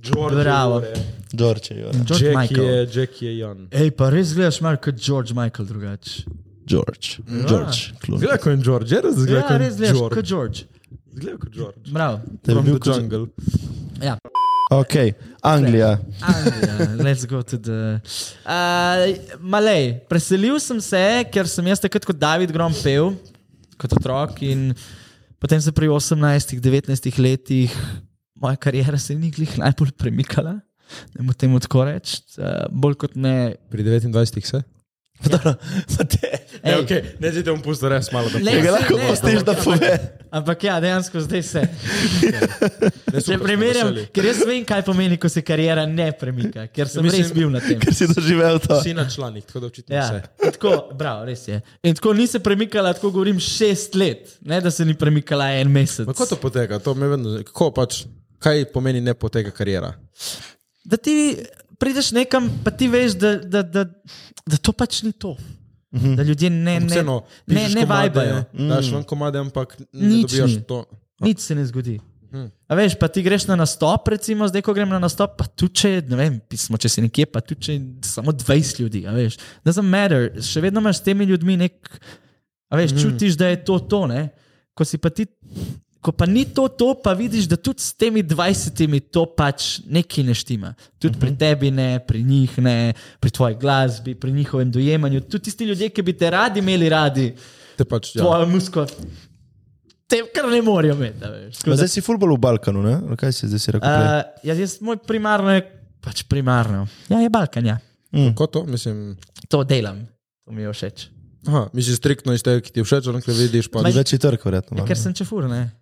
George
Bravo. Jure.
George je Jure.
George
Jack
Michael.
je, Jack je Jan.
Ej, pa res gledaš malo kot George Michael drugače.
George. George. Clooney.
Zgleda kot en George, je res zgleda
Ja,
kot en
res gledaš
George.
kot George.
Zgleda kot George.
Bravo.
Da bi
From
bil
the
kot-
jungle.
Ok, Anglija.
Anglija, Ja, let's go to the. Uh, malej, preselil sem se, ker sem jaz takrat kot David Grom pel, kot otrok. In potem se pri 18-19 letih moja karijera se ni glih najbolj premikala. Ne mu temu tako reči, uh, bolj kot ne.
Pri 29 se?
Ej,
okay. E, ne zdaj te bom pustil res malo, da
Lej,
Če ga
saj
lahko
ne,
postiš, da
ampak-
pove.
Ampak ja, dejansko zdaj se.
ne
Če primerjam, ker jaz vem, kaj pomeni, ko se karijera ne premika, ker sem
Mislim-
res bil na tem.
Ker si doživel to.
Si na članih, tako da očitno
Ja,
vse.
in tako, bravo, res je. In tako ni se premikala, tako govorim, šest let, ne da se ni premikala en mesec.
Kako to poteka? To me vedno, zanima. kako pač, kaj pomeni ne poteka karijera?
Da ti prideš nekam, pa ti veš, da, da, da, da to pač ni to. Mhm. Da ljudje ne, ne,
Vseeno,
ne, ne vajbajo.
Mm. Daš ven komade, ampak ne
Nič
dobivaš
ni.
to.
Nič se ne zgodi. A veš, pa ti greš na nastop, recimo, zdaj, ko grem na nastop, pa tu če, je, ne vem, pismo, če si nekje, pa tu če je samo 20 ljudi, a veš, doesn't matter, še vedno imaš s temi ljudmi nek, a veš, čutiš, da je to to, ne? Ko si pa ti, ko pa ni to to, pa vidiš, da tudi s temi 20 to pač nekaj ne štima. Tudi pri tebi ne, pri njih ne, pri tvoji glasbi, pri njihovem dojemanju, tudi tisti ljudje, ki bi te radi imeli radi,
Te pač, ja.
tvojo musko. Te kar ne morajo imeti, a veš. Tako
Ma
da-
Zdaj si futbol v Balkanu, ne? Ali Kaj si zdaj si rekel? prej?
Uh, jaz, jaz moj primarno je pač primarno. Ja, je Balkan, ja.
Kako to? Mislim,
to delam, to mi je všeč.
aha, misliš striktno iz tega, ki ti je všeč, ampak vidiš pa.
Ma-
Tudi večji trg, verjetno.
Ja,
malo,
ker
ne?
sem čefur, ne.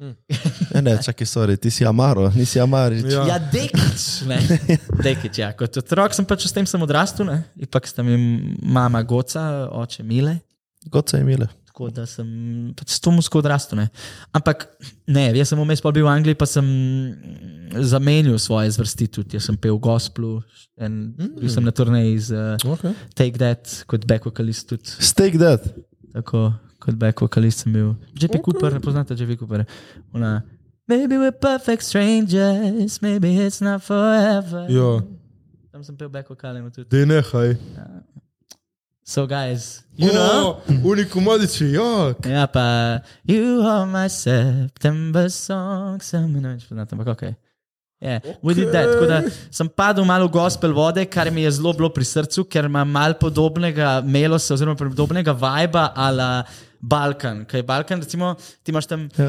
Ne, ne, čakaj, sorry, ti si Amaro, nisi Amarič.
Ja.
Ja, dekič,
*laughs*
ne. Dekič, ja. Kot otrok sem pač s tem sem odrastel, ne. Ipak sta mi mama Goca, oče Mile.
Kot so imele.
Tako da sem pač s to musko odrastel. Ne. Ampak ne, jaz sem vmes pa bil v Angliji, pa sem mm, zamenjal svoje zvrsti tudi. Jaz sem pel v gosplu, en, bil sem na turneji z uh,
Okay.
Take That kot back vocalist tudi.
Steak dead.
tako kot back vokalist sem bil. JP okay. Cooper, poznate JP Cooper. Ona, maybe we're perfect strangers, maybe it's not forever.
Ja,
Tam sem pel back vokalem tudi.
dej nehaj.
So guys, you
You
oh. know.
know, uniku modiči, ja.
Ja, pa you are my September song, sem ne vem, če poznate, ampak ok. Yeah, okay. Did that, tako da sem padel malo v gospel vode, kar mi je zelo bilo pri srcu, ker ima malo podobnega melosa, oziroma podobnega vibra ala Balkan. Kaj je Balkan, recimo, ti imaš tam. ja.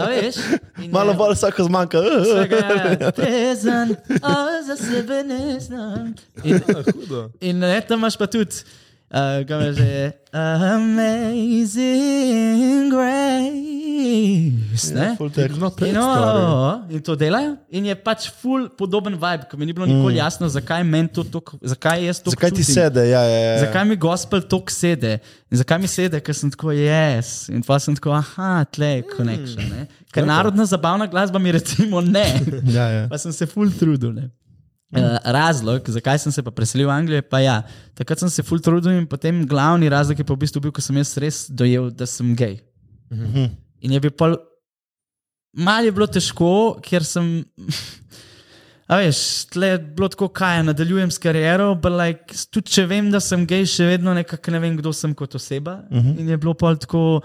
A veš? In eh,
Malo
je-
bolj vsako zmanjka.
Vsega Ja.
*laughs*
je Trezen, a za sebe ne znam. In
Hudo.
In ne, tam imaš pa tudi, uh, kaj me že je, amazing grace. Ne?
Full tech.
No,
In, o, in to delajo, in je pač ful podoben vibe, ki mi ni bilo nikoli jasno, zakaj meni to tako, zakaj jaz to
Mm. Zakaj ti
čutim.
sede? Ja, ja, ja.
Zakaj mi gospel tok sede? In zakaj mi sede, ker sem tako jaz? Yes. In pa sem tako, aha, tle je konekšen. Mm. Ker narodna zabavna glasba mi recimo ne.
Ja, ja.
pa sem se ful trudil. Ne? Eh, razlog, zakaj sem se pa preselil v Anglijo, pa ja, takrat sem se full trudil in potem glavni razlog je pa v bistvu bil, ko sem jaz res dojel, da sem gej. In je bil pol, malo je bilo težko, ker sem, a veš, tle je bilo tako, kaj ja, nadaljujem s kariero, ampak like, s- tudi če vem, da sem gej, še vedno nekako ne vem, kdo sem kot oseba. In je bilo pol tako.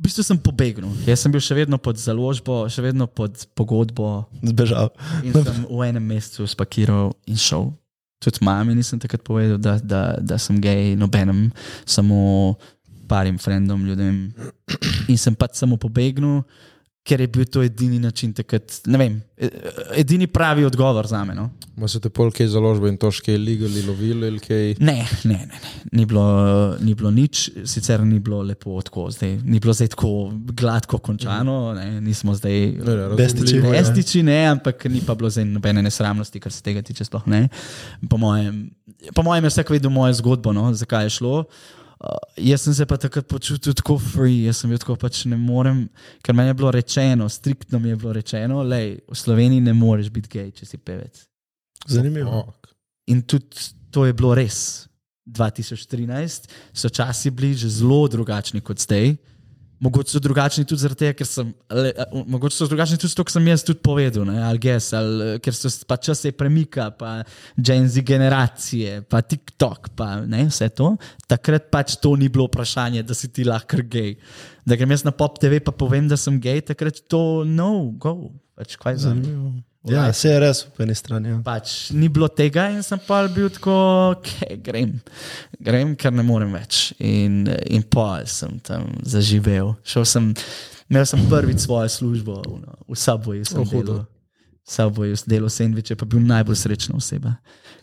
V bistvu sem pobegnil. Jaz sem bil še vedno pod založbo, še vedno pod pogodbo,
Zbežal.
In sem v enem mestu spakiral in šel. Tudi mami nisem takrat povedal, da, da, da sem gej, nobenem, samo parim frendom, ljudem. In sem pač samo pobegnil, ker je bil to edini način takrat, ne vem, e- edini pravi odgovor za me. No?
Ma so te polke založbe in to še kaj legali, lovili ali kaj.
Ne, ne, ne, ne. Ni, bilo, ni bilo nič, sicer ni bilo lepo tako, zdaj, ni bilo zdaj tako gladko končano, ne, nismo zdaj
Ne, ne,
Bestiči.
razumljivo.
Ja.
Estiči ne, ampak ni pa bilo zdaj nobene nesramnosti, kar se tega tiče. Sploh, ne. po, mojem, po mojem je vsak vedel mojo zgodbo, no, zakaj je šlo. Uh, jaz sem se pa takrat počutil tako free, jaz sem bil tako pač ne morem, ker meni je bilo rečeno, striktno mi je bilo rečeno, da v Sloveniji ne moreš biti gej, če si pevec.
Zanimivo.
Fuck.
In tudi to je bilo res. 2013 so časi bili že zelo drugačni kot zdaj. Mogoče so drugačni tudi zaradi tega, ker sem, le, a, o, mogoče so drugačni tudi zato, ker sem jaz tudi povedal, ne, ali gess, ali eh, ker so s- pa čas se premika, pa Gen Z generacije, pa TikTok, pa ne, vse to. Takrat pač to ni bilo vprašanje, da si ti lahko kar gej. Da grem jaz na pop TV pa povem, da sem gej, takrat to no, go. Pač kaj za me.
Ja, vse je res po eni strani. Ja.
Pač ni bilo tega in sem pa bil tako, okay, grem, grem, ker ne morem več. In, in pa sem tam zaživel. Šel sem, imel sem prvič svojo službo, no, v Subwayu sem
O,
oh,
hudo.
hodil. Subwayu sem delal sendviče, pa bil najbolj srečna oseba.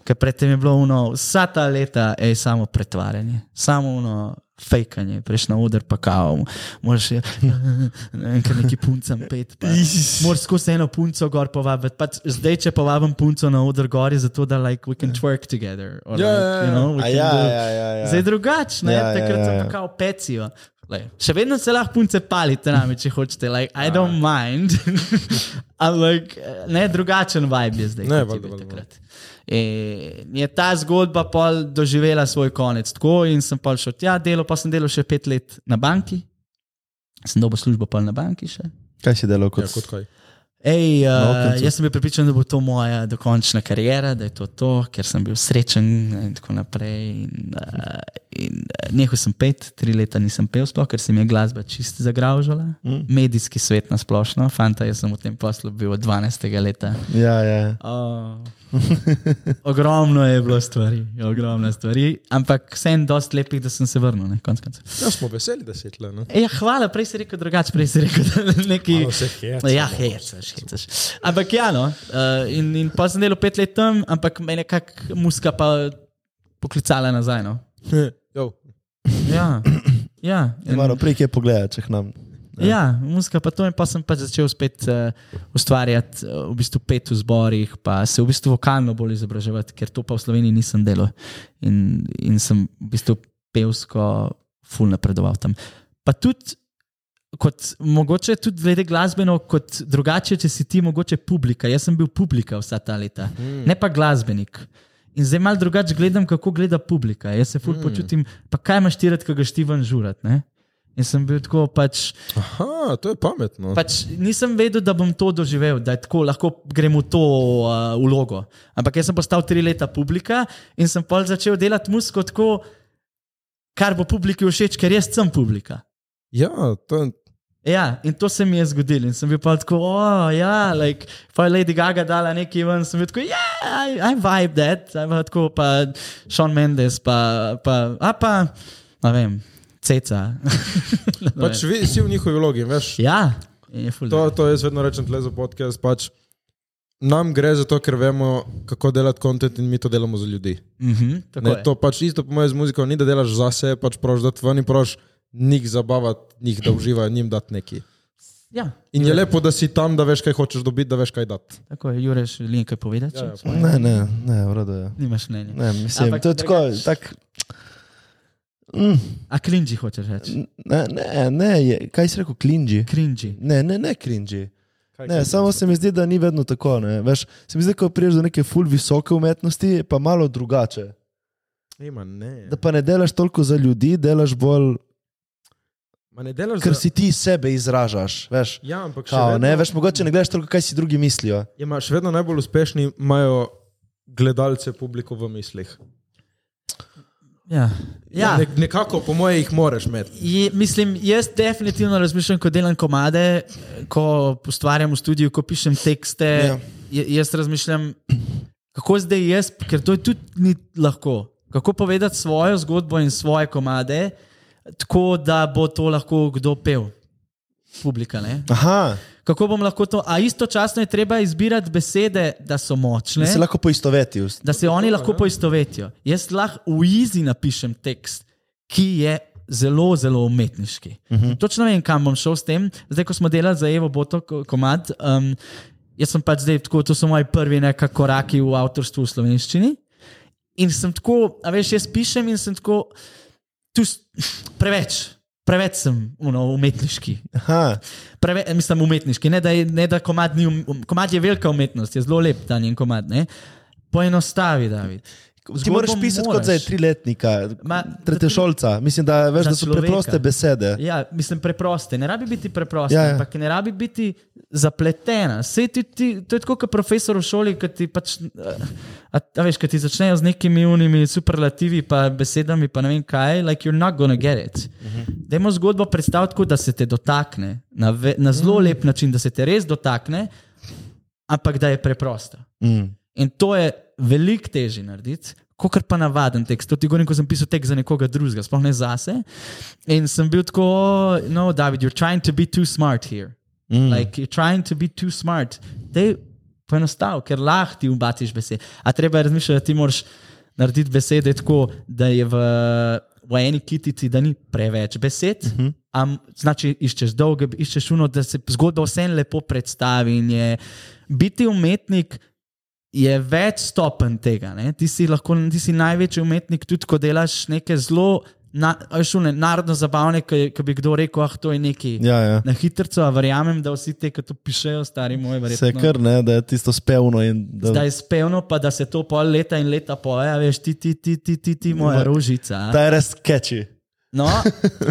Ker predtem je bilo uno, vsa ta leta je samo pretvarjanje, samo uno. Fejkanje, prejš na oder, pa kao, moraš je, ne vem, kaj neki puncem pet. Pa, moraš skozi eno punco gor povabiti. Pač zdaj, če povabim punco na oder gor, je zato, da like, we can twerk together. Or,
Ja,
like,
ja,
you
ja.
know, we
A
can
ja,
do-
ja, ja, ja.
Zdaj je drugačne,
Ja, ja,
ja, takrat
ja,
ja, ja.
ja.
sem pa kao pecijo. Lej, še vedno se lahko punce palite nami, če hočete, like, I don't mind. *laughs* Ampak eh, ne, drugačen vibe je zdaj. kot
Ne,
je
valjda,
bil
valjda,
takrat. In je ta zgodba pol doživela svoj konec. Tako in sem pol šel tja, delal pa sem delal še pet let na banki, sem dobil službo pol na banki še.
Kaj si delal
Ja,
kot?
kot kaj.
Ej, uh,
okencu.
jaz sem bil pripričan, da bo to moja dokončna karijera, da je to to, ker sem bil srečen eh, in tako naprej. In, uh, in uh, nehal sem pet, tri leta nisem pel, sploh, ker se mi je glasba čist zagravžala. Mm. Medijski svet na splošno, fanta, jaz sem v tem poslu bil od 12. leta.
Ja, ja. ja.
*laughs* Oh. ogromno je bilo stvari, ogromno stvari, ampak vseeno dosti lepih, da sem se vrnil, ne, konc koncev.
Ja, smo veseli, da si tle. ne?
Ja, hvala, prej si rekel drugače, prej si rekel, da neki.
Malo se hecamo.
ja, hecaš, hecaš. Ampak ja, no. Uh, in, in pa sem delal pet let tam, ampak me je nekako muska pa poklicala nazaj. No.
Jo.
Ja, ja. In,
Malo prej je pogledal, če k nam.
ja, muska pa to in pa sem pač začel spet uh, ustvarjati, uh, v bistvu pet v zborih, pa se v bistvu vokalno bolj izobraževati, ker to pa v Sloveniji nisem delal. In, in sem v bistvu pevsko ful napredoval tam. Pa tudi kot mogoče tudi glede glasbeno, kot drugače, če si ti mogoče publika. Jaz sem bil publika vsa ta leta, mm. ne pa glasbenik. In zdaj malo drugače gledam, kako gleda publika. Jaz se ful mm. počutim, pa kaj imaš tirati, ko greš ti ven žurat. Ne? In sem bil tako pač.
Aha, to je pametno.
Pač nisem vedel, da bom to doživel, da je tako lahko grem v to uh, vlogo. Ampak jaz sem postal tri leta publika in sem pol začel delati muziko tako, kar bo publiki všeč, ker jaz sem publika.
Ja, to je.
Ja, in to se mi je zgodilo. In sem bil pa tako, oh, ja, like, pa je Lady Gaga dala nekaj ven, sem bil tako, ja, yeah, I, I vibe that, I pa tako, pa Sean Mendes, pa, pa, a pa, ne vem, ceca. *laughs* Ne vem.
Pač vi, si v njihovi vlogi, in veš.
ja, in je ful.
To,
dobro.
to jaz vedno rečem tle za podcast. Pač nam gre za to, ker vemo, kako delati kontent in mi to delamo za ljudi.
Mhm, tako
Ne,
je.
to pač isto po mojem z muziko ni, da delaš za sebe, pač proš da tvani proš, njih zabavati, njih da uživajo, njim dati neki.
Ja,
In je lepo, da si tam, da veš, kaj hočeš dobiti, da veš, kaj dati.
tako je, Jureš, želim kaj povedati? Ja, ja.
Ne, ne, ne, v redu je.
Nimaš mnenja.
Ne, mislim,
Ampak
to je tako,
drugače-
tak,
A krinži hočeš reči?
ne, ne, ne je, kaj si rekel, klinži?
Krinži.
Ne, ne, ne, klinži.
Kaj,
Ne, samo se mi zdi, da ni vedno tako. ne, Veš, se mi zdi, ko priješ do neke ful visoke umetnosti, je pa malo drugače.
Ima, ne.
Da pa ne delaš toliko za ljudi, delaš bolj,
Ma ne delaš
ker
za-
si ti sebe izražaš. Veš,
Ja, ampak še
kao,
vedno-
ne, veš mogoče ne gledaš toliko, kaj si drugi mislijo.
Ja, še vedno najbolj uspešni imajo gledalce, publiko v mislih.
Ja. Ja.
Ne, nekako, po mojem, jih moraš imeti.
Je, mislim, jaz definitivno razmišljam, ko delam komade, ko ustvarjam v studiu, ko pišem tekste.
Ja.
Ja. Jaz razmišljam, kako zdaj jaz, ker to je tudi ni lahko. Kako povedati svojo zgodbo in svoje komade, tako da bo to lahko kdo pel, publika. Ne?
Aha,
Kako bom lahko to, a istočasno je treba izbirati besede, da so močne
da se lahko poistoveti. v-
da se oni lahko poistovetijo. Jaz lahko v Easy napišem tekst, ki je zelo, zelo umetniški. Uh -huh. Točno vem, kam bom šel s tem. Zdaj, ko smo delali za Evo Boto ko- komad, um, jaz sem pač zdaj tako, to so moji prvi nekakšni koraki v avtorstvu v slovenščini. In sem tako, a veš, jaz pišem in sem tako, tu s- preveč, preveč sem uno, umetniški.
Aha,
Preve, eh, mislim, umetniški. Ne, da je, ne, da komad, ni, um, komad je velika umetnost, je zelo lep ta njen komad. Ne? Poenostavi, David.
ti
Zgodbo
moraš pisati kot
moraš.
za triletnika,
Ma,
tretješolca. Mislim, da, veš,
Za
da so
človeka.
preproste besede.
Ja, mislim, preproste. Ne rabi biti preproste,
Ja,
ja,
ja.
ja. ampak ne rabi biti zapletena. Sej ti, ti, to je tako, kot profesor v šoli, ki ti pač. A, a veš, ki ti začnejo z nekimi unimi superlativi, pa besedami, pa ne vem kaj, like you're not gonna get it. Mhm. Dajmo zgodbo predstaviti tako, da se te dotakne na, ve, na
Mhm.
zelo lep način, da se te res dotakne, ampak da je preprosta.
Mm.
In to je veliko težje narediti, kot pa navaden tekst. To ti govorim, ko sem pisal tekst za nekoga drugega, sploh ne zase. In sem bil tako, "Oh, no, David, you're trying to be too smart here. Mm. Like, you're trying to be too smart. Dej poenostav, ker lahko ti ubatiš besede. A treba je razmišljati, da ti moraš narediti besede tako, da je v, v eni kitici, da ni preveč besed. Mm
Mhm.
-hmm. Am, znači, iščeš dolge, iščeš uno, da se zgodba vsem lepo predstavi. in je- Biti umetnik je več stopenj tega. Ne? Ti si lahko ti si največji umetnik, tudi ko delaš neke zelo na, a veš, one narodno zabavne, ki ki bi kdo rekel, ah, to je neki.
Ja, ja.
Na hitro, a verjamem, da vsi te, ki to pišejo, stari moj,
Se
verjetno.
kar ne, da je tisto spevno. in Da...
Da je spevno, pa da se to pol leta in leta poje, a veš, ti, ti, ti, ti, ti, ti moja
Moj-
rožica. a.
Ta je res keči.
No,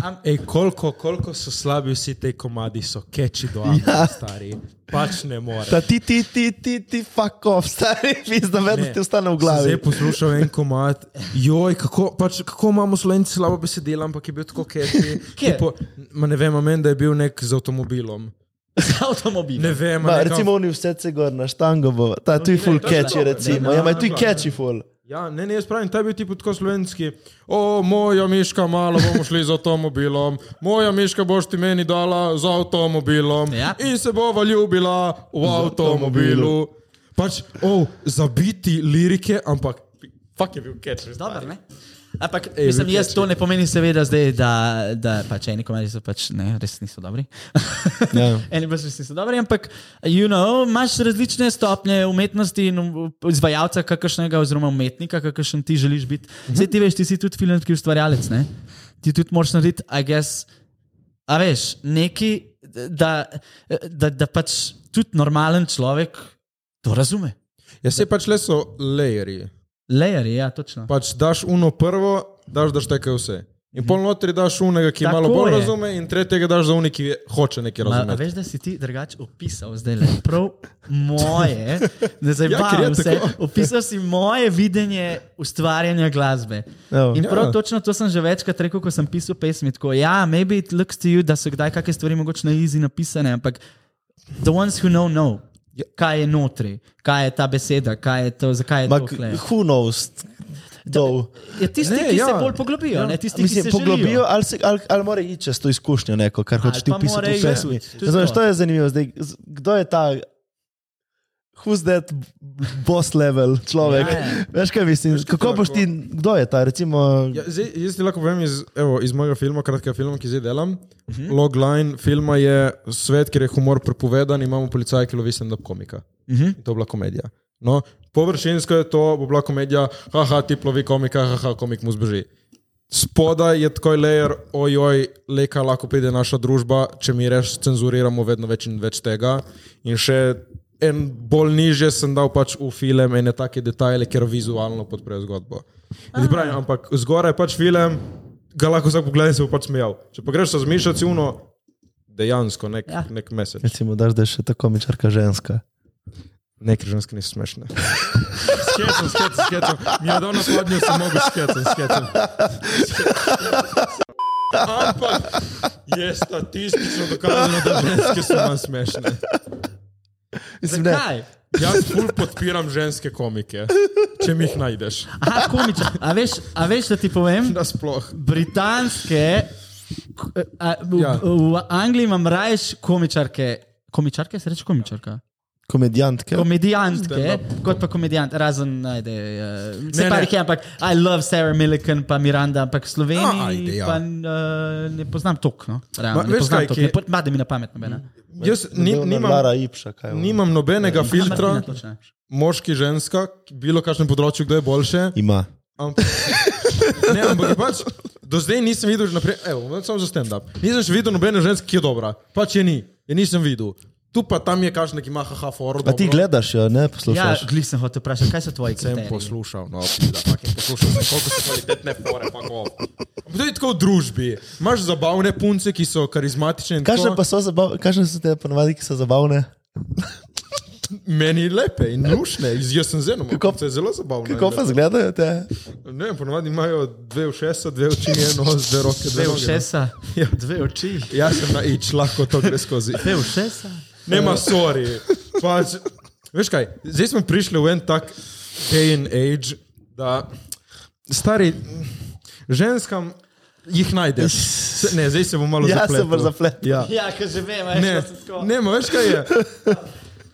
am,
Ej, koliko, koliko so slabi vsi ti komadi, so keči do avta, ja. stari. Pač ne more.
Ta ti, ti, ti, ti, ti, fuck off, *laughs* stari, pizda, vedno ti ostane v glavi.
Zdaj poslušam en komad, joj, kako, pač, kako imamo slovenci slabo besedila, ampak je bil tako keči.
Kje?
Tipo, ma ne vem, a meni, da je bil nek z avtomobilom.
z avtomobilom.
Ne vem, a
Ma,
nekam-
recimo, oni vse se gor na štango, bo, ta tu je full
to je
catchy,
dobro,
recimo.
ne,
Ja, ma tu je
dobro,
catchy full.
Ja, ne, ne, jaz pravim, ta je bil tipo tako slovenski. O, moja miška, malo bomo šli z avtomobilom, moja miška boš ti meni dala z avtomobilom
Ja.
in se bova ljubila v avtomobilu. Pač, o, zabiti lirike, ampak, fuk je bil catch.
Dobar, ne? Ampak,
Ej,
mislim,
vi
jaz
catchy.
to ne pomeni, seveda, zdaj, da, da pač eni komarji so pač ne, res niso dobri.
Ja.
*laughs* eni pač res niso dobri, ampak, you know, imaš različne stopnje umetnosti in um, izvajalca, kakršnega, oziroma umetnika, kakršen ti želiš biti. Zdaj ti veš, ti si tudi filmski ustvarjalec, ne? Ti tudi moraš narediti, I guess, a veš, neki, da, da, da pač tudi normalen človek to razume.
Ja, se pač le so layerji.
Lejeri, ja, točno.
Pač daš uno prvo, daš da šteke vse. In pol notri daš unega, ki Tako malo
Tako
bolj je.
je.
razume, in tretjega daš za unega, ki hoče nekaj
Ma, a
razumeti.
veš, da si ti drugače opisal, zdaj le prav moje, ne zabavam
ker je
ja, se.
tako.
Opisal si moje videnje ustvarjanja glasbe.
Evo.
In prav
Ja.
točno to sem že večkrat rekel, ko sem pisal pesmi. Tako, ja, maybe it looks to you, da so kdaj kakšne stvari mogoče na easy napisane, ampak the ones who know, know. Ja, Kaj je notri, kaj je ta beseda, kaj je to, zakaj je
Ma,
to. tule.
who knows? Dol.
Ja, tisti,
Ne,
ne, ki ja. se
ja.
bolj poglobijo, ja. ne tisti,
Mislim,
ki se
poglobijo,
želijo.
ali, si, ali, ali mora iti čez to izkušnjo, neko, kar hočeš ti
pa mora
opisati v
iti,
pesmi.
tudi
Znaš,
to.
to je zanimivo. Zdaj, z- kdo je ta? Who's that boss level človek?
Ja, ja.
Ja. Veš, kaj mislim? Kako boš ti, kdo je ta? Recimo,
Ja, zdaj, jaz ti lahko povem iz, evo, iz mojega filma, kratkega filma, ki zdaj delam. Uh -huh. Logline filma je svet, kjer je humor prepovedan, imamo policaja, ki lovi stand-up komika. Uh -huh. To je bila komedija. No, površinsko je to, bo bila komedija, haha, ti plovi komika, haha, komik mu zbeži. Spodaj je tako lejer, ojoj, leka lahko pride naša družba, če mi reš, cenzuriramo vedno več in več tega. In še en bolj niže sem dal pač v film ene take detajle, ker vizualno podprejo zgodbo. In ti Pravim, ampak zgoraj je pač film, ga lahko vsak pogleda in se bo pač smejal. Če pa greš razmišljati, si uno, dejansko nek,
Ja.
ja. nek mesec.
Recimo, daš, da je še tako mičarka ženska.
Nekaj žensk niso smešne. Skecam, skecam, skecam. Mi je dal na podnjo, sem mogel skecam, skecam. Ampak je statistično dokazano, da ženske so manj smešne.
Mislim, ne.
Zakaj?
Jaz ful podpiram ženske komike, če mi jih najdeš.
Aha, komič. A veš, a veš, da ti povem?
Nasploh.
britanske, k- a, v, ja.
Ja.
v Angliji imam rajš komičarke. Komičarke se reče komičarka.
Komedijantke.
Komedijantke,
Stand-up.
kot pa komedijant, razen najde. Uh, ne,
Ne, ne.
ne. Je, ampak I love Sarah Milliken, pa Miranda, ampak Sloveniji
A, ajde, ja.
pa, uh, ne poznam tok. No, realno,
Ma,
ne
veš
poznam
kaj, Mm. Ja,
tok,
ki-
ne pot- made mi na pamet nobena.
Jaz ni, nimam,
Lara Ipša, kaj je. Ja.
nimam nobenega filtra,
Martina, točno, ne.
moški, ženska, bilo kakšnem področju, kdo je boljše.
Ima.
Ampak, ne, ampak je pač, do zdaj nisem videl, že naprej, evo, bom samo za stand-up. Nisem še videl nobene ženske, ki je dobra, pač je ni, je nisem videl. Tu pa tam je kažna, ki ima haha foro.
A ti gledaš jo,
Ja,
ne poslušaš?
glih sem hotel vprašati, kaj so tvoji
Sem
kriteriji?
poslušal, no, pizda, fucking poslušal sem, koliko so kvalitetne fore, pa ko. To je tako v družbi. Imaš zabavne punce, ki so karizmatične in
Kakšne
tako
pa so zabavne, kakšne so te ponovadi, ki so zabavne?
meni lepe in nušne, iz jaz sem zelo,
Kako-
kako je zelo zabavno.
Kako pa zgledajo te?
Ne vem, ponovadi imajo dve ušesa, dve oči, eno nos, dve roke,
Dve
dve noge. no.
ušesa, dve oči,
*laughs* Jaz sem na ič, lahko to gre skozi.
dve ušesa.
Nema sorry. Pač, veš kaj, zdaj smo prišli v en tak day and age, da stari ženskam jih najdeš. Se- Ne, zdaj se bom malo
Ja, se
zapletel.
boš zapletel.
Ja.
Ja, ker že vem, a
Ne,
je šlo tako.
ne, ma veš kaj je. *laughs*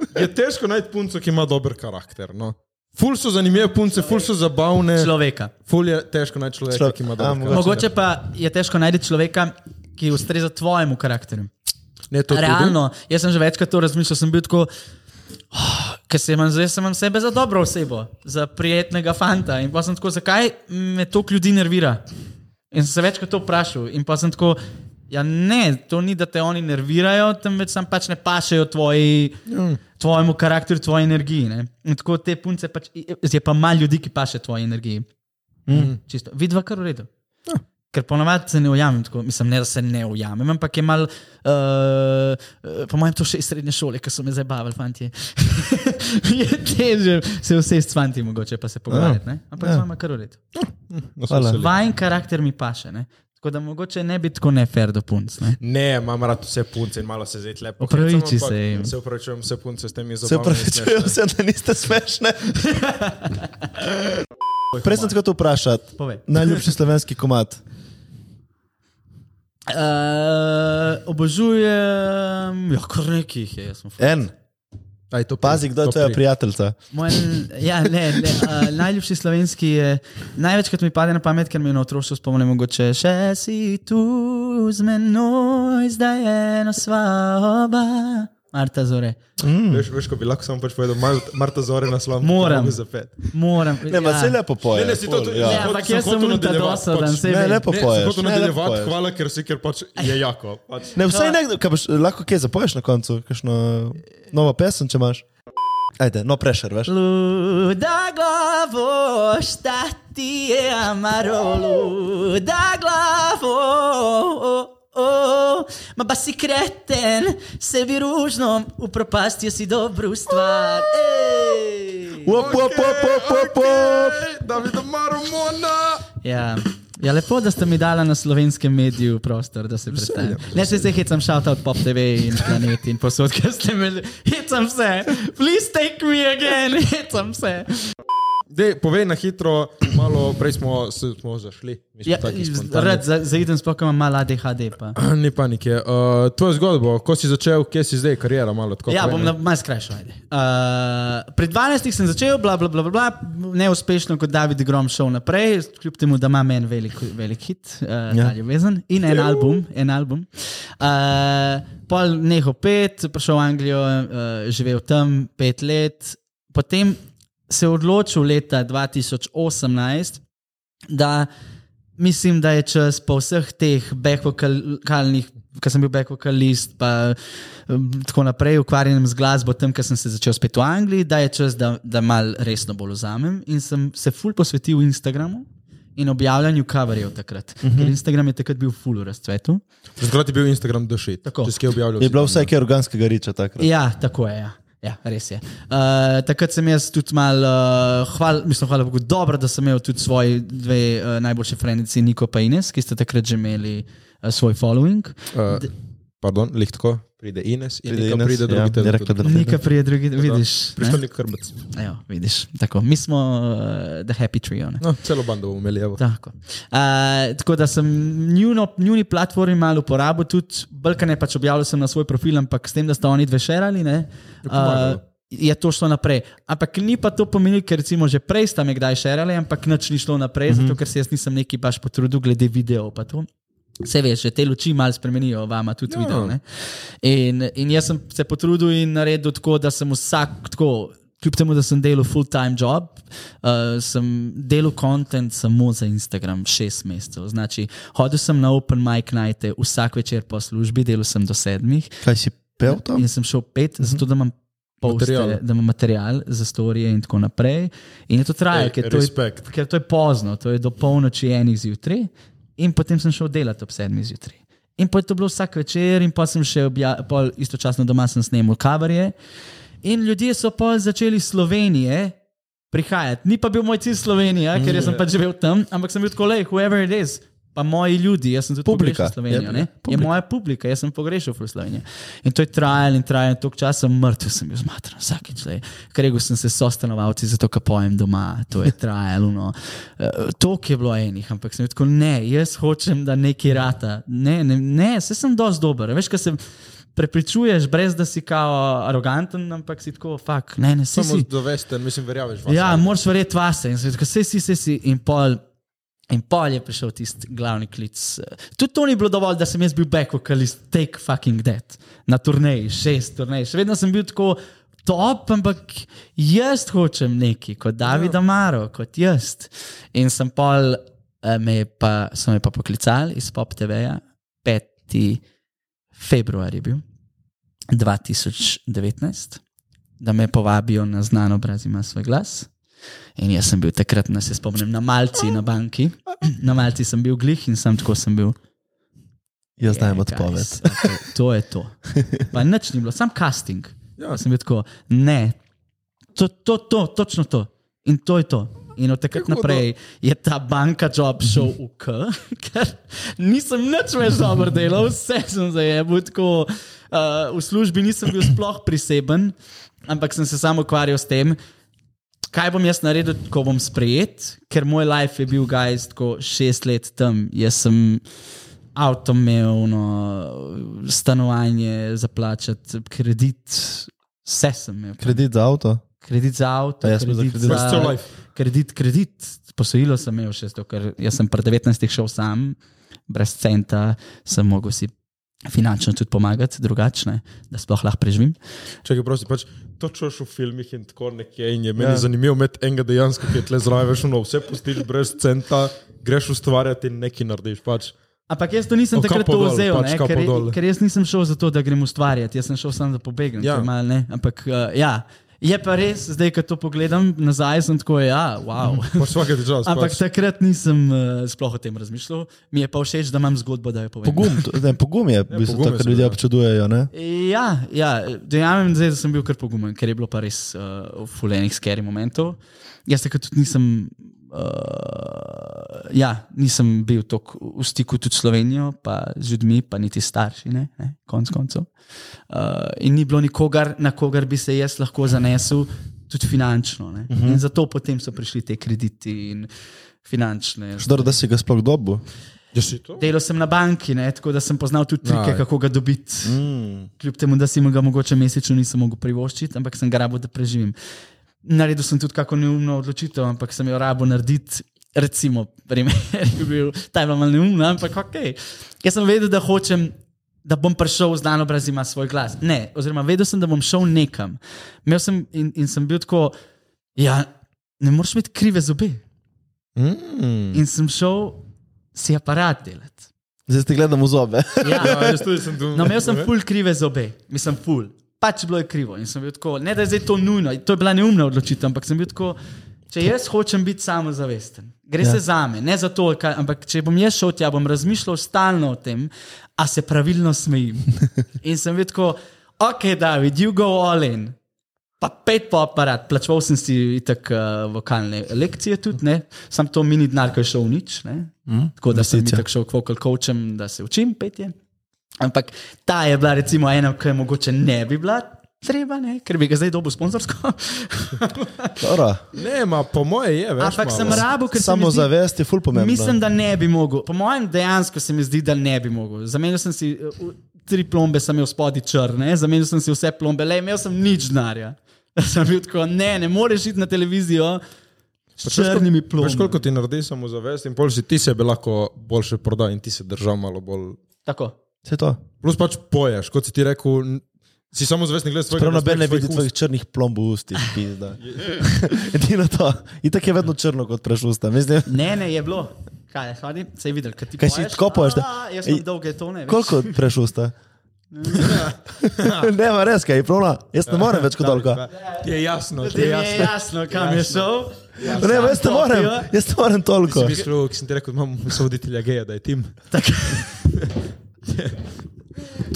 Je težko najti punco, ki ima dober karakter. No. Ful so zanimive punce, ful so zabavne.
Človeka.
Ful je težko najti človeka,
Človek.
ki ima
A,
dober karakter.
Mogoče pa je težko najti človeka, ki ustreza tvojemu karakterju.
Ne, to tudi.
Realno, jaz sem že večkrat to razmišljal, sem bil tako. "Oh, Ker se imam, zdaj se imam sebe za dobro osebo, za prijetnega fanta. In pa sem tako, zakaj me toliko ljudi nervira? In sem se večkrat to vprašal. In pa sem tako, ja ne, to ni, da te oni nervirajo, temveč sam pač ne pašejo tvoji,
Ja.
tvojemu karakteru, tvoji energiji. Ne? In tako te punce pač, je pa malo ljudi, ki paše tvoji energiji. Mm. Čisto, vidva kar v redu. Ker ponovadi se ne ujamem, tako, mislim, ne da se ne ujamem, ampak je mal, uh, uh, po mojem, to še iz srednje šole, ki so me zabavali, fanti. *laughs* je težje se vse s fanti, mogoče pa se pogovarjati, ne? ampak ja. z vama kar ured.
No, so
Hvala.
veseli.
Vajen karakter mi paše, ne? tako da mogoče ne bi tako nefer do punc. Ne?
Ne, imam rad vse punce in malo se zdaj lepo.
Opraviči
hecam, ampak
se jim.
Se upravičujem, vse punce s tem je
*laughs* Se
zabavno.
upravičujem, se da niste smešne. Prej sem te hotel vprašati.
Povej.
Najljubši slovenski komat.
Uh, obožujem, ja, kar nekih je, jaz sem. ful.
En.
Aj, to
Pazi, kdo je tvoja prijateljica.
Moj, ja, ne, ne, uh, najljubši slovenski je, največkrat mi pade na pamet, ker mi je na otroštvu spomnim, mogoče še si tu z menoj, zdaj je eno svoba. Marta Zore.
Veš, veš, ko bi lahko samo pač povedal, Mar- Marta Zore na slavnem.
Moram.
Zapet.
Moram.
Ja.
ja.
Ne, ma se lepo poje.
Ne, ne, si to
ful,
tudi-
ja.
Ne, ampak jaz sem
hotel
un ta
nadaljevati,
dosadan,
pač.
se
Ne,
vem.
lepo
Ne,
poješ.
sem hotel
ne, lepo
nadaljevati,
poješ.
hvala, ker si, ker pač je jako. Pač.
Ne, vsaj nekdo, kaj boš, lahko kje zapoješ na koncu, kakšno novo pesem, če imaš. Ajde, no prešer, veš.
Luda glavo, šta ti je amaro, luda glavo. o, o, Ma pa si kreten, sebi ružno, upropastil si dobro stvar. Ej.
Uop, uop, uop, uop, uop, uop.
Da bi domaro mona.
Ja. Ja, lepo, da ste mi dali na slovenskem mediju prostor, da se predstavim. Ne, se zdaj hecam šalta od Pop TV in planet in posod, ker ste me... Hecam se! Please take me again! Hecam se!
Dej, povej na hitro, malo prej smo, se- smo zašli. Mi smo
Ja,
taki
z-
spontani.
rad za- zaidem, sploh ko imam malo ADHD. Pa.
*clears throat* Ni panike. Uh, tvoja zgodba, ko si začel, kje si zdaj, karijera malo tako.
Ja,
povej,
bom
ne.
na- malo skrajšal. ajde. Uh, pri 12 sem začel, bla, bla, bla, bla, bla, neuspešno kot David Grom šel naprej, kljub temu, da ima meni velik, velik hit, uh, ja. ljubezen in en album. En album. Uh, pol neho pet, prišel v Anglijo, uh, živel tam pet let, potem se je odločil leta 2018, da mislim, da je čas po vseh teh backvokalnih, ki sem bil backvokalist, pa em, tako naprej, ukvarjanjem z glasbo, tam, ker sem se začel spet v Angliji, da je čas, da, da mal resno bolj vzamem. In sem se ful posvetil Instagramu in objavljanju coverjev takrat. Uh -huh. Ker Instagram je takrat bil ful v razcvetu.
Takrat je bil Instagram dušit.
Tako.
Če si kaj objavljal.
Je bilo vse, kar je organskega riča takrat.
Ja, tako je. Ja. Ja, res je. Uh, takrat sem jaz tudi malo, uh, hval, mislim, hvala Bogu, dobro, da sem imel tudi svoje dve uh, najboljše frendici, Niko in Ines, ki ste takrat že imeli uh, svoj following.
Uh, pardon, lihtko. Pride Ines in
Pride
Nika
Ines,
pride
ja,
drugi
je
teden.
rekla, da-
Nika prije drugi, vidiš.
Prišel
ne?
nek krbec.
Evo, vidiš. Tako, mi smo uh, The Happy Trio. Ne?
No, celo bando bomo imeli. evo.
Tako. Uh, tako da sem njuno, njuni platformi malo uporabil, tudi Balkane pač objavljal sem na svoj profil, ampak s tem, da sta oni dve šerali, ne, uh,
pomagalo.
je to šlo naprej. Ampak ni pa to pomenilo, ker recimo že prej sta me kdaj šerali, ampak nič ni šlo naprej,
Mhm.
mm -hmm. zato ker se jaz nisem neki baš potrudil glede videov. pa to. Se veš, že te luči malo spremenijo, vama tudi ja. video. Ne? In, in jaz sem se potrudil in naredil tako, da sem vsak tako. Kljub temu, da sem delal full-time job, uh, sem delal kontent samo za Instagram, šest mesecev. Znači, hodil sem na open mic najte vsak večer po službi, delal sem do sedmih
Kaj si pel tam?
in sem šel pet, mm -hmm. zato da imam. Poste,
Mhm. Material.
da imam material za storije, in tako naprej. In je to trajalo,
Ej,
ker, to je-
respekt.
ker to je pozno, to je do polnoči enih zjutraj, in potem sem šel delat ob sedmih zjutraj. In potem je to bilo vsak večer, in potem sem še obja- pol istočasno doma sem snemal kavarje. In ljudje so pol začeli iz Slovenije prihajati. Ni pa bil moj cilj Slovenija, ker
Mm.
jaz sem pač živel tam, ampak sem bil tako, le, whoever it is, pa moji ljudje, jaz sem tudi
Publika.
pogrešal Slovenijo.
Ja,
Je-
ne? Je moja publika, jaz sem pogrešal ful Slovenijo. In to je trajalo in trajalo, toliko časa mrtev sem bil zmatran, vsakeč. le. Ker rekel sem se sostanovalci, zato ker pojem doma, to je trajalo. No. Tok je bilo enih, ampak sem bil tako, ne, jaz hočem, da neki rata. Ne, ne, ne se sem dosti dober. Veš, kaj sem. Prepričuješ, brez da si kao aroganten, ampak si tako, fuk, ne, ne, saj si.
Samo dovesten, mislim, verjameš. vase.
Ja, moraš verjeti vase. In sem rekel, sej si, sej si. In pol, in pol je prišel tisti glavni klic. eh, Tudi to ni bilo dovolj, da sem jaz bil back vocalist, take fucking dead. Na turneji, šest turnej. Še vedno sem bil tako top, ampak jaz hočem nekaj, kot David Amaro, kot jaz. In sem pol, eh, me je pa, so me pa poklicali iz Pop TV-ja, 5. februar je bil 2019 da me povabijo na znano obraz ima svoj glas. In jaz sem bil takrat, na se spomnim, na Malci, na banki. Na Malci sem bil glih in sem tako sem bil.
Jaz znam
"Ej,
odpoved.
guys, Okay, to je to. Pa nič ni bilo, sam casting. Ja.
Ja.
Sem bil tako, ne, to, to, to, točno to. In to je to. In od takrat
Kako
naprej je ta banka job šel v K, *laughs* ker nisem nič več dobro delal, vse sem zajebil. Tako, uh, v službi nisem bil sploh priseben, ampak sem se samo ukvarjal s tem, kaj bom jaz naredil, ko bom sprejet, ker moj life je bil, guys, tako šest let tam. Jaz sem avto imel, no, stanovanje za plačati, kredit, vse sem imel.
Kredit za avto?
Kredit za avto,
A jaz sem za
kredit
kredit.
za
First your life.
Kredit, kredit, posojilo sem imel še zato, ker jaz sem pred 19 šel sam, brez centa, sem mogel si finančno tudi pomagati, drugačne, da sploh lahko preživim.
Čakaj, prosim, pač to čuješ v filmih in tako nekje. In je meni ja. zanimivo imeti enega dejansko, ki je tle zraven, veš, no, vse pustiš brez centa, greš ustvarjati in nekaj narediš. Pač.
Ampak jaz to nisem
O,
takrat
kapo
to
dol,
vzel,
pač
ne,
kapo
ker,
dol.
ker jaz nisem šel zato, da grem ustvarjati, jaz sem šel samo da pobegnem.
Ja.
Ja. Mal, ne, ampak uh, ja, je pa res, zdaj, ko to pogledam nazaj, sem tako, ja, wow.
Pač vsake čas.
*laughs* Ampak
Pač.
takrat nisem uh, sploh o tem razmišljal, mi je pa všeč, da imam zgodbo, da jo povem.
Pogum, to- ne, pogum je, v bistvu,
Ja, pogum
to,
je
kar
seveda.
ljudje občudujejo. Ne?
Ja, ja dejamem, zdaj, da sem bil kar pogumen, ker je bilo pa res uh, fulejnih skeri momentov. Jaz takrat tudi nisem, uh, ja, nisem bil tako v stiku tudi s Slovenijo, pa z ljudmi, pa niti starši, ne, ne konc koncev. Uh, in ni bilo nikogar, na kogar bi se jaz lahko zanesel, tudi finančno. ne. In zato potem so prišli te krediti in finančne.
Šdor, da si ga sploh dobil.
Ja, si to?
Delal sem na banki, ne, tako da sem poznal tudi trike,
Aj.
kako ga dobiti
Mm.
kljub temu, da si mu ga mogoče mesečno nisem mogel privoščiti, ampak sem ga rabo, da preživim. Naredil sem tudi kako neumno odločitev, ampak sem jo rabo narediti. Recimo, primer *laughs* je bil, ta je bila malo neumna, ampak ok. Jaz sem vedel, da hočem, da bom prišel v znano brez ima svoj glas. Ne, oziroma vedel sem, da bom šel nekam. Imel sem in, in sem bil tako, ja, ne moreš imeti krive zobe.
Mm.
In sem šel si aparat delati.
Zdaj ti gledam v
*laughs*
zobe.
Ja.
Ja, jaz tudi sem tu.
No, imel sem ful krive zobe, mislim ful. Pač bilo je krivo in sem bil tako, ne da je zdaj to nujno, to je bila neumna odločitev, ampak sem bil tako, če jaz hočem biti samozavesten, gre ja. se za me, ne za to, kaj, ampak če bom jaz šel tja, bom razmišljal stalno o tem, a se pravilno smejim. In sem bil tako, ok, David, you go all in. Pa pet po aparat, plačal sem si itak uh, vokalne lekcije tudi, ne? sam to mini denar, ki je šel v nič. Mm, tako da sem
investicija.
itak šel k vokal coachem, da se učim petje. Ampak ta je bila recimo ena, ki je mogoče ne bi bila treba, ne? ker bi ga zdaj dobil sponzorsko.
Dobro.
Ne, ma po moje je, veš.
Ampak
malo.
sem rabo, Ja, ker se mi zdi-
Samozavest je ful pomembno.
Mislim, da ne bi mogel. Po mojem, dejansko se mi zdi, da ne bi mogel. Zamenjal sem si eh, v- tri plombe, sem imel spodaj črne, zamenjal sem si vse plombe, le imel sem nič denarja. *laughs* Sem bil tako, ne, ne moreš iti na televizijo s
Veš, koliko-
črnimi
Veš, koliko
plombami.
ti naredi samozavest in pol si ti sebe lahko boljše proda in ti se držal malo bolj.
Tako.
Vse to.
Plus pač poješ, kot si ti rekel, n- si samozavestni gled svojega.
Prav noben ne
svojih
vidi
ust.
tvojih črnih plomb v
*laughs*
ustih. pizda. *laughs* Edino to. Itak je vedno črno kot preš usta. Mislim,
Ne, ne, je bilo. Kaj je, hodi? Se je videl, kaj ti
Kaj si tako poješ, da-
"A, Jaz sem
Ej,
dolge tone.
koliko preš
*laughs*
usta?
Ja.
*laughs* ne, ma res, kaj je pravno. Jaz ne morem več kot toliko.
Je jasno,
Ti
je
je
jasno.
jasno, kam je šel.
Ne, ma jaz ne morem. Jaz ne morem toliko.
Sem mislil, ki sem ti rekel, da imam soditelja geja, da je tim. *laughs*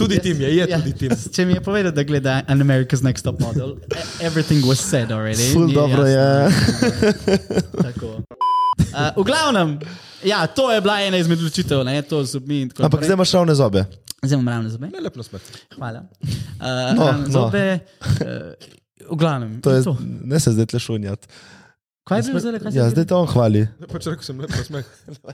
tudi tim je, je
Ja,
tudi tim.
Če mi je povedal, da gleda An America's Next Top Model, e- everything was said already.
Ful
Ni
dobro ja.
jasno.
je.
Tako. Uh, v glavnem, ja, to je bila ena izmed odločitev, ne, to z zobmi in tako
Ampak zdaj
naprej.
imaš ravne zobe.
Zdaj imam ravno zobe.
Ne, lep nasmeh.
Hvala. Uh, no,
No,
ravno
no.
no. zobe. Uh, v glavnem,
To je,
to.
ne se zdaj tlešunjat.
Kaj je bilo zdaj? kaj si
Ja,
rekel?
zdaj te on hvali.
Ne, pač rekel sem lep nasmeh.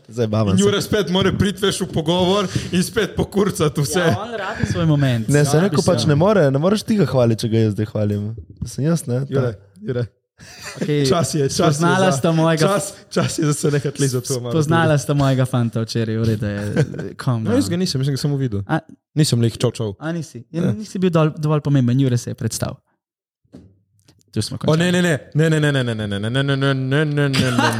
Zdaj bava.
In Jure spet mora priti veš v pogovor in spet pokurcati vse.
Ja, on rabi svoj moment.
Ne, se
Ja,
rekel pač ne more, ne moreš ti ga hvaliti, če ga jaz zdaj hvalim. Sem jaz, ne? Ta-
Jure, Jure.
okay,
Čas je, čas je.
Poznala
za-
sta mojega.
Čas, čas je, da se nehate lizati. to malo.
Poznala sta mojega fanta včeraj, v redu je. calm
No, jaz ga
down.
nisem, jaz sem ga samo videl.
A-
Nisem lih čov čov.
A nisi? Ja, nisi bil dol, dovolj pomemben, Jure se je predstavil. Tu smo
O
končali.
ne, ne, ne, ne, ne, ne, ne, ne, ne, ne, ne, ne, ne, ne, ne,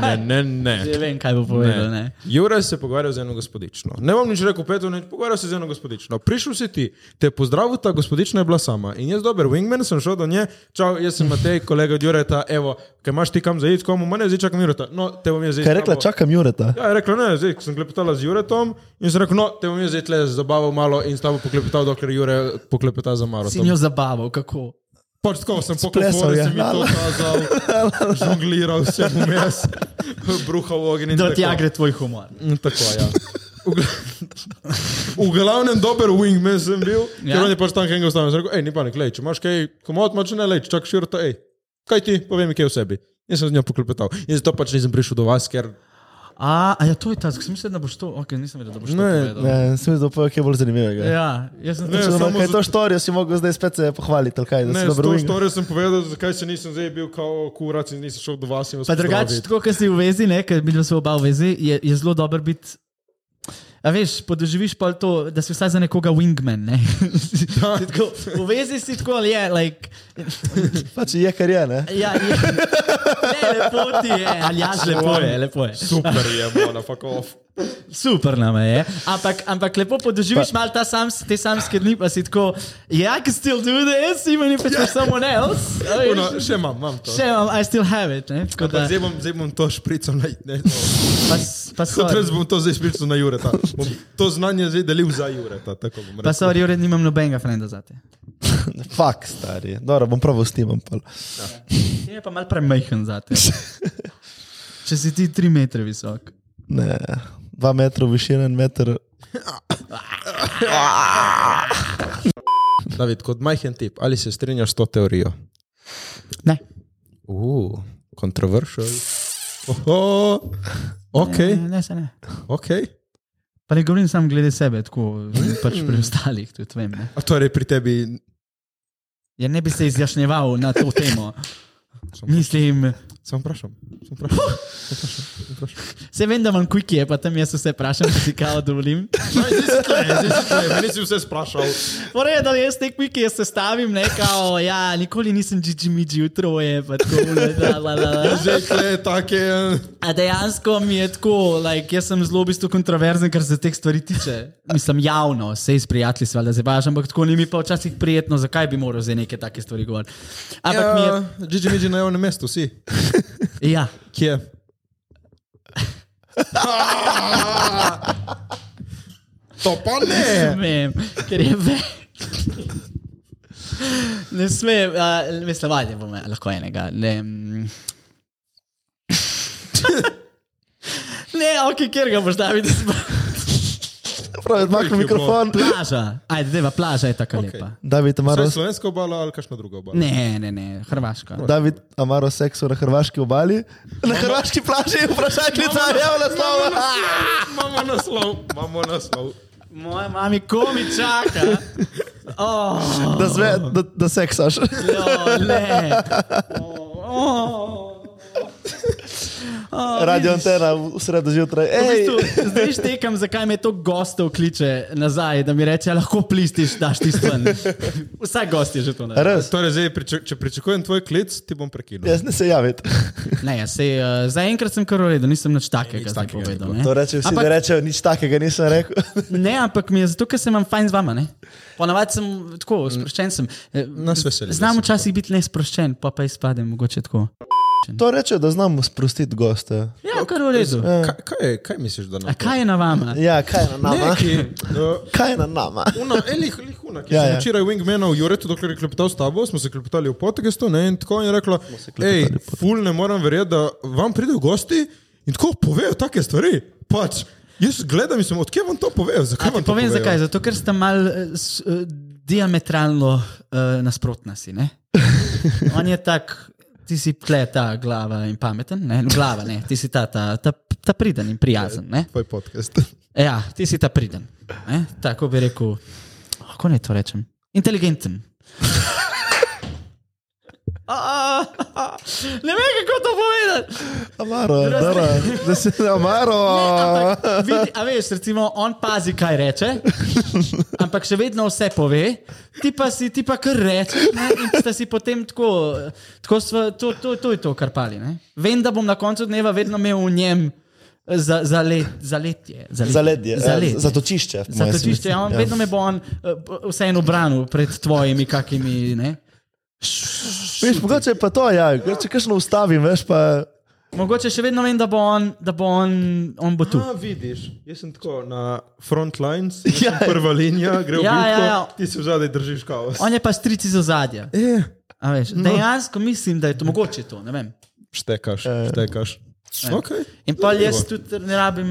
ne, ne, ne, ne,
Že
ne.
vem, kaj bo povedal. Ne.
Jure se je pogovarjal z eno gospodično. Ne bom nič rekel, peto, nič pogovarjal se je z eno gospodično. Prišel si ti, te je pozdravil, ta gospodična je bila sama. In jaz, dober wingman, sem šel do nje, čau, jaz sem Matej, kolega od Jureta, evo, kaj imaš ti kam za iti, komu, mene zdaj čakam Jureta. No, te bom jaz zdaj.
Kaj je rekla,
s tabo-
čakam Jureta.
Ja, je rekla, ne, zdaj ko sem klepetala z Juretom in sem rekel, no, te bom jaz zdaj tle zabaval malo in s tabo poklepetal, dokler Jure poklepeta za Maro.
Si njo zabaval, kako?
Pač tako sem poklopil,
Splesal je.
sem
*laughs*
jim to kazal, žongliral sem vmes, *laughs* bruhal ogen in
Do
tako.
tja ja gre tvoj humor.
Mm, Tako, ja. V gla- V glavnem dober wingman sem bil,
Ja.
ja. ker on je pač tam enega ustavil. Sem rekel, hej, ni panik, lej, če imaš kaj, komod, imaš ne, lej, čak širto, hej, kaj ti, povej mi kaj o sebi. In sem z njo poklepetal. In zato pač nisem prišel do vas, ker
A, a ja, to je ta, sem mislil, da boš to, ok, nisem vedel, da boš to
Ne,
povedal.
Ne, sem videl, da je kaj bolj zanimivega.
Ja, jaz sem
Ne,
Če
tudi
bom
samo
kaj
zato-
to storil, si mogel zdaj spet se pohvaliti, ali kaj, da
ne,
si
s
dobro
to
umil.
storijo sem povedal, zakaj se nisem zdaj bil kao kurac in nisem šel do vas. in vas
Pa drugače,
pozdravit.
tako kot si v vezi, ne, ker bi se oba v vezi, je, je zelo dober biti. A veš, podoživiš pa to, da si vsaj za nekoga wingman. Ne? *laughs* Si tako, v vezi si tako, ali je, like,
Pač je, kar je, ne?
ja, *laughs* je, ne, lepo ti je, ali jaz lepo je, lepo je.
Super je, mora, fuck
*laughs*
off.
Super nam je, ampak, ampak lepo podoživiš malo ta sam, te samske dni, pa si tako, yeah, I can still do this, even if it's for someone else. A veš?
Uno, še imam, imam to.
Še imam, I still have it. Ne? Tako
Ampak
da,
Zdaj bom, zdaj bom to šprico na ne.
pa, s- pa
Kot res
sorry,
bom to zdaj šprico na Jureta. Bom to znanje zdaj delil za Jureta, tako bom
pa
rekel.
sorry, ured nimam nobenega frenda za te.
Fak, stari. Dobro, bom pravo snimam. pol.
Ti je pa mal premajhen za te. *laughs* Če si ti tri metre visok.
Ne, dva metra višina, en meter.
David, kot majhen tip, ali se strinjaš s to teorijo?
Ne.
Uh, kontroversial. Oho, ok,
Ne, ne, se ne.
ok.
Pa ne govorim samo glede sebe, tako pač pri ostalih tudi vem. Ne.
A torej pri tebi
Ja ne bi se izjašnjeval na to temo. Mislim,
Sam vprašam. Sam vprašam. Samo vprašam, samo vprašam.
Vse vem, da imam quickie, pa tam jaz vse vprašam, če si kava dovolim.
Meni si vse sprašal.
Moram reči, da jaz te quickie sestavim, ne kao, ja, nikoli nisem džidžimidži, jutro je pa tako. la, la, la, la.
*laughs* Že kle, take.
A dejansko mi je tako, like, jaz sem zelo v bistvu kontroverzen, kar se teh stvari tiče. Mislim, javno, se iz prijatelji se valjda zabaš, ampak tako ni mi pa včasih prijetno, zakaj bi moral za neke take stvari govoriti. Ampak ja. mi
Ja, Gigi Migi na javnem mestu, si.
je, ja,
Kje? *laughs* To pa ne!
*laughs* vem, ker je več. Ne smem, uh, mislim, valjda bom lahko enega. Ne, mm. *laughs* ne ok, ker ga boš dal, da si pa
Pravi, odmakni
Koliko je bilo?
mikrofon.
plaža. Ajde, deva, plaža je tako okay. lepa.
David Amaro,
Saj slovenska obala ali kakšna druga obala?
Ne, ne, ne, Hrvaška.
David Amaro seksu na hrvaški obali. Na hrvaški plaži je vprašalnica, javna slava.
Imamo naslov, imamo naslov.
Moja mama komi *laughs* čaka. Oh,
Da, zve, da, da seksaš.
jo, le. Oh, oh.
Radio antena v sredo zjutraj.
V
Ej,
bistvu, zdaj štekam, zakaj me to gostov kliče nazaj, da mi reče, "A lahko plistiš, daš ti
*laughs*
stran. Vsak gost je že to naredil.
res,
Torej, zdaj, priča- če pričakujem tvoj klic, ti bom prekinil.
jaz ne se javiti.
Ne, ja, sej, uh, zaenkrat sem kar uredil, nisem nič takega zdaj
takega
povedal.
ni
ne.
To reče vsi, ampak,
Ampak-
da rečejo nič takega, nisem rekel.
Ne, ampak mi je zato, ker se imam fajn z vama. ne. Ponavadi sem
Mm.
tako, sproščen sem. Eh,
No,
Nas veseli, da
Znam
si
včasih biti nesproščen, pa pa izpadem mogoče tako.
To reče, da znamo sprostiti goste.
Ja, kar v redu.
Kaj, kaj, je- kaj misliš,
A
da nam
kaj je na vama?
Ja, kaj je na nama?
Neki, uh,
Kaj je na nama?
Una, elih, elih una, ki ja,
Ja,
sem
ja.
včeraj Wingmana v Juretu, dokler je klepetal s tabo, smo se klepetali v podkastu ne, in tako je rekla, hej, ful ne moram verjeti, da vam pridejo gosti in tako povejo take stvari. Pač, jaz gledam in sem, odkje vam to povejo,
A
zakaj
ti
vam to
povem
povejo?
zakaj? Zato, ker sta mal eh, s- eh, diametralno uh, nasprotna si. Ne? On je tak, ti si tle ta glava in pameten, ne? glava ne, ti si ta, ta, ta, ta priden in prijazen. Ne?
Tvoj podcast.
Ja, ti si ta priden. Ne? Tako bi rekel, kako naj to rečem? Inteligenten. A, a, a, Ne vem, kako to povedati.
Amaro, dobro. da se Amaro. Oh.
Ampak Vidi, a veš, recimo, on pazi, kaj reče, ampak še vedno vse pove, ti pa si ti pa kar reče. Ne, in sta si potem tako, tako sva, to, to, to je to, kar pali. Ne? Vem, da bom na koncu dneva vedno imel v njem za, za, let, za letje.
Zaledje,
Za
eh,
letje.
zatočišče. po moje se mi
Zatočišče,
zdi.
ja, on, ja. vedno me bo on eh, vseeno branil pred tvojimi kakimi. Ne?
Veš, mogoče je pa to, ja, če kakšno ustavim, veš pa.
Mogoče še vedno vem, da bo on, da bo on, on bo tu.
A, vidiš, jaz sem tako na front lines, jaz
Ja.
sem prva linija, gre v
Ja,
bitko,
ja, ja.
ti se zadaj držiš kaos.
On je pa strici za zadje.
E,
A Veš, no. Dejansko mislim, da je to mogoče. To, ne vem.
štekaš, štekaš. Okay.
Eh. In pa jaz
Zanimivo.
tudi ne rabim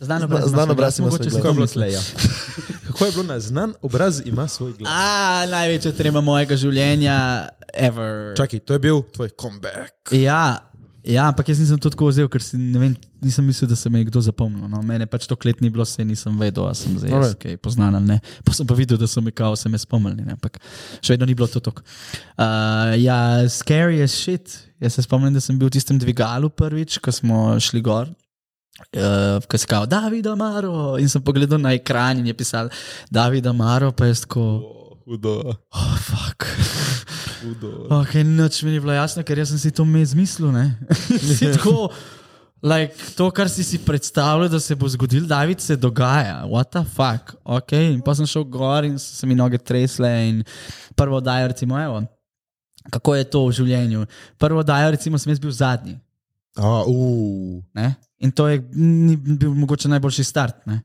Znan obraz. ima
Znan
svoj
obraz
glas,
ima
mogoče
svoj
se
glas.
to
obrazu,
misli.
kako je bilo na znan obraz, ima svoj glas.
A, največja trema mojega življenja, ever.
Čakaj, to je bil tvoj comeback.
Ja, ja, ampak jaz nisem to tako vzel, ker si, ne vem, nisem mislil, da se me je kdo zapomnil. No. Mene pač to klet ni bilo, se nisem vedel, ali sem zdaj jaz, kaj poznan ali ne. Pa sem pa videl, da so me kao se me spomnili, ne, ampak še vedno ni bilo to tako. Uh, ja, scary as shit. Jaz se spomnim, da sem bil v tistem dvigalu prvič, ko smo šli gor. Uh, ko si kao, David Amaro, in sem pogledal na ekran in je pisal David Amaro, pa jaz tako,
Hudo,
oh, fuck.
hudo.
Ok, noč Ah, mi ni bilo jasno, ker jaz sem si to me izmislil. ne. *laughs* Si tako, like, to, kar si si predstavljal, da se bo zgodil, David, se dogaja. What the fuck? Ok, in pa sem šel gor in so se mi noge tresle in prvo dajo, recimo, evo, kako je to v življenju. Prvo dajo, recimo, sem jaz bil zadnji.
A, uh.
Ne? In to je ni bil mogoče najboljši start. Ne?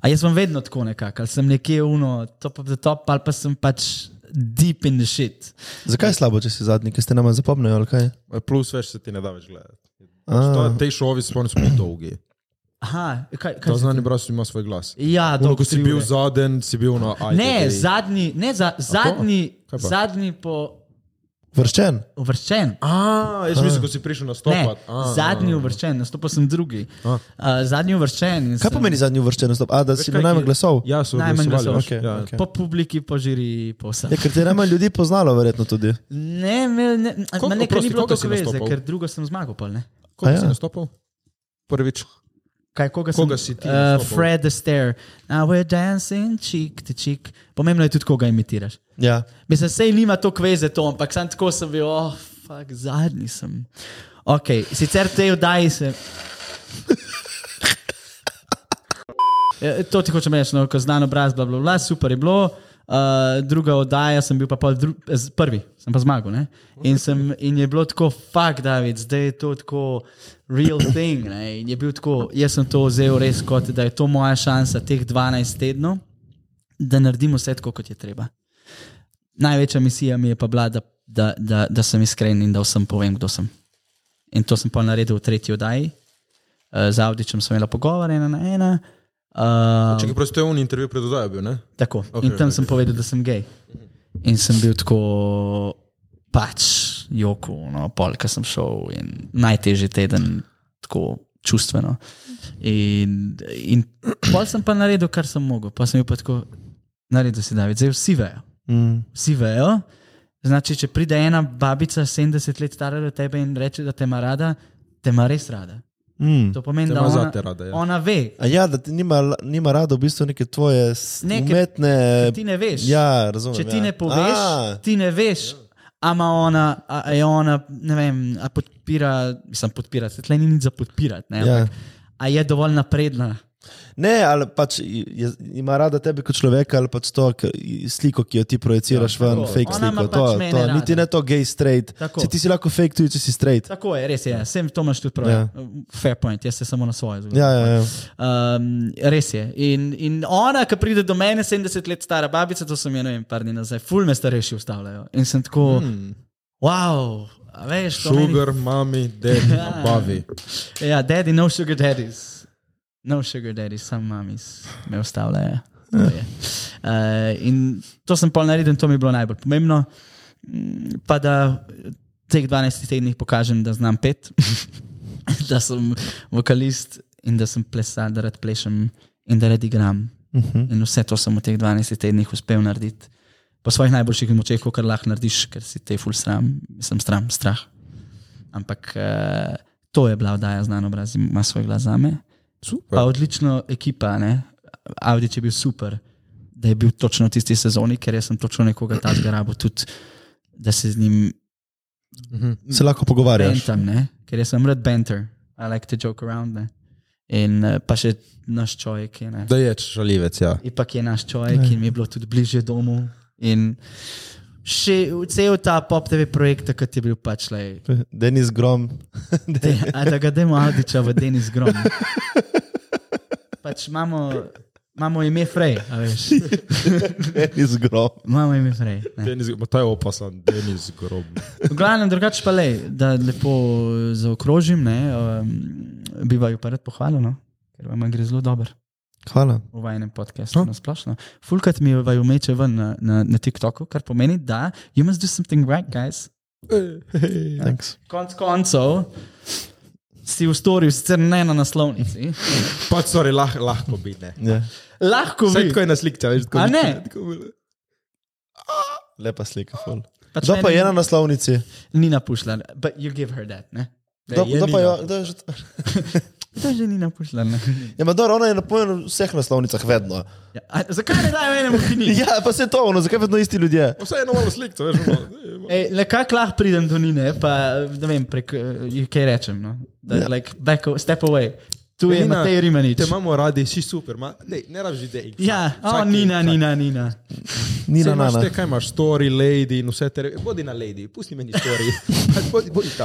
A jaz sem vedno tako nekako, ali sem nekje uno, top of the top, ali pa sem pač deep in the shit.
Zakaj je slabo, če si zadnji, ker ste nama zapomnili, ali kaj?
Pač
Plus več se ti ne da več gledati.
A,
Te šovi so spomnim, dolgi.
Aha, kaj, kaj
Ta
si-
znani brasov ima svoj glas.
Ja,
Ono,
dolgo
ko si
tri
bil
ure.
zaden, si bil na ITV.
Ne, zadnji, ne za, zadnji,
Kaj pa?
zadnji po
Vrščen.
uvrščen.
A, jaz mislim, ko si prišel na
Ne,
stopat. A,
zadnji
a.
uvrščen, nastopil sem drugi.
A.
Uh, zadnji uvrščen. in
Kaj
sem-
pomeni zadnji uvrščen nastop? A, da si
Veš,
bil
kaj,
najmanj
ki-
glasov?
Ja, so
Najmanj
glasovali.
glasov.
veš,
Okej,
ja.
okej.
Po publiki, po žiri, po vsem.
Ja, ker te je najmanj ljudi poznalo, verjetno tudi.
Ne, me, ne,
Koliko,
ne, nekaj
oprosti,
ni bilo
koliko
tako
si
veze,
nastopal?
ker drugo sem zmagal. Pol, ne?
Koga
A
si
ja.
nastopal? Prvič.
Kaj, koga,
Koga
sem,
si ti
Uh,
nastopal?
Fred Astaire. Now we're dancing, cheek to cheek. Pomembno je tudi, koga imitiraš.
Ja.
Mislim, sej nima to kveze to, ampak sam tako sem bil, oh, fuck, zadnji sem. Ok, sicer te vdaji se. *laughs* Ja, To ti hočem reči, no, ko znan obraz, bla, bla, bla, super je bilo. Uh, druga oddaja sem bil pa pol dru eh, z- prvi, sem pa zmagal. ne. In, sem, in je bilo tako, fuck, David, zdaj je to tako real thing. Ne? In je bil tako, jaz sem to vzel res kot, da je to moja šansa teh 12 tednov, da naredim vse tako, kot je treba. Največja misija mi je pa bila, da, da, da, da sem iskren in da vsem povem, kdo sem. In to sem pa naredil v tretji oddaji. Eh, Z Avdičem sem imel pogovor, ena na ena. Uh,
Če ga prosto je on intervju pred oddajo bil, ne?
Tako. Okay,
Ok,
in tam
ok.
okay. sem povedal, da sem gej. In sem bil tako pač joku, no, pol, ki sem šel in najtežji teden, tako čustveno. In, in pol sem pa naredil, kar sem mogel, pa sem bil pa tako, naredil si David, zdaj vsi vejo.
Mm.
Vsi vejo. Znači, če pride ena babica 70 let stara do tebe in reče, da te ima rada, te ima res rada.
Mm.
To pomeni,
Te
da
ima
ona,
zate rada, ja.
ona ve,
A ja, da ti nima, la- nima rado v bistvu neke tvoje s-
Ne, ker-
umetne.
ti ne veš.
Ja, razumem.
Če ti
ja.
ne poveš,
A,
ti ne veš. Ama ona, a, a je ona, ne vem, a podpira, mislim, podpira, se tle ni nič za podpirati, ne,
Ja.
ampak, a je dovolj napredna.
Ne, ali pač je, ima rada tebe kot človeka, ali pač to k- sliko, ki jo ti projiciraš ja, ven,
tako.
fake
Ona ima
sliko.
pač
To,
mene
to,
rada.
niti ne to gej straight.
Tako.
Se ti si lahko fake tudi, če si straight.
Tako je, res je, sem to imaš tudi prav.
Ja.
Fair point, jaz se samo na svoje zgodi.
Ja, ja, ja.
Um, res je. In, in ona, ki pride do mene, 70 let stara babica, to sem jaz, ne vem, par dni nazaj, ful me starejši ustavljajo. In sem tako,
Mm.
hmm. wow, a veš, to meni
Sugar, mami, ded, bavi.
Ja, daddy, no sugar daddies. No sugar daddies, sam mamis me ustavljajo. To je. Eh, In to sem pol naredil, in to mi je bilo najbolj pomembno. Mm, Pa da v teh 12 tednih pokažem, da znam pet, *laughs* da sem vokalist in da sem plesal, da rad plešem in da rad igram.
Mhm.
In vse to sem v teh 12 tednih uspel narediti. Po svojih najboljših močeh, kar lahko narediš, ker si te ful sram, sem sram, strah. Ampak uh, to je bila oddaja znano obraz, ima svoj glas za me.
Super.
Pa odlično ekipa, ne? Avdič je bil super, da je bil točno v tisti sezoni, ker jaz sem točno nekoga tam zgrabil, tudi da se z njim
Se lahko pogovarjaš.
bentam, ne? ker jaz sem rad banter, I like to joke around. Ne? In eh, pa še naš človek je. Ne?
Da je šalivec, ja.
Ipak je naš človek in mi je bilo tudi bližje domu. In še cel ta pop TV projekt, takrat je bil pač le.
Denis Grom.
*laughs*
Te, a da ga demo Avdiča v Denis Grom. Pač imamo, imamo ime Frej, a veš.
Denis Grom.
Imamo ime Frej. ne.
Denis, ma ta je opasan, Denis grob.
V glavnem drugače pa le, da lepo zaokrožim, ne, um, bi vaju pa rad pohvalil, no? ker vam gre zelo dobro.
Hvala.
v vašem podkastu na splošno. Fulkrat mi vaju meče ven na, na, na TikToku, kar pomeni, da you must do something right, guys.
Thanks.
Konc koncev si v storju, sicer ne na naslovnici.
Pač, sorry, lah, lahko bi, ne.
Ja.
Lahko
Vse
vidiš.
tako je na slikce, veš, tako
A
bi-
ne?
*laughs* tako bi-
Lepa slika. ful.
Pač
Kdo pa
meni
je na naslovnici?
Nina Pušlar, but you give her that, ne?
Kdo,
je no.
kdo pa
Nina.
jo, kdo je že?
To je že Nina Pušlar, ne?
Ja, Mador, ona je na pojem vseh naslovnicah vedno.
Ja, a, zakaj ne dajo enemu
*laughs*
knjigi?
Ja, pa se to, ono, zakaj vedno isti ljudje?
Vseeno malo slikce, veš, malo.
Ej, Nekako lahko pridem do Nine, pa ne vem, prek, eh, kaj rečem. No? Da, yeah. like, back, o- step away. Tu je
Ja. Nina,
Matej Rimanič.
Te imamo radi, si super, ma, ne, ne rabiš idej.
Ja,
Vsak-
oh,
vsak-
Nina,
vsak-
Nina, Nina.
Ni
Saj
na
imaš
nana.
te, kaj imaš, story, lady in vse te reči. Bodi na lady, pusti meni
*laughs*
story. bodi, bodi ta.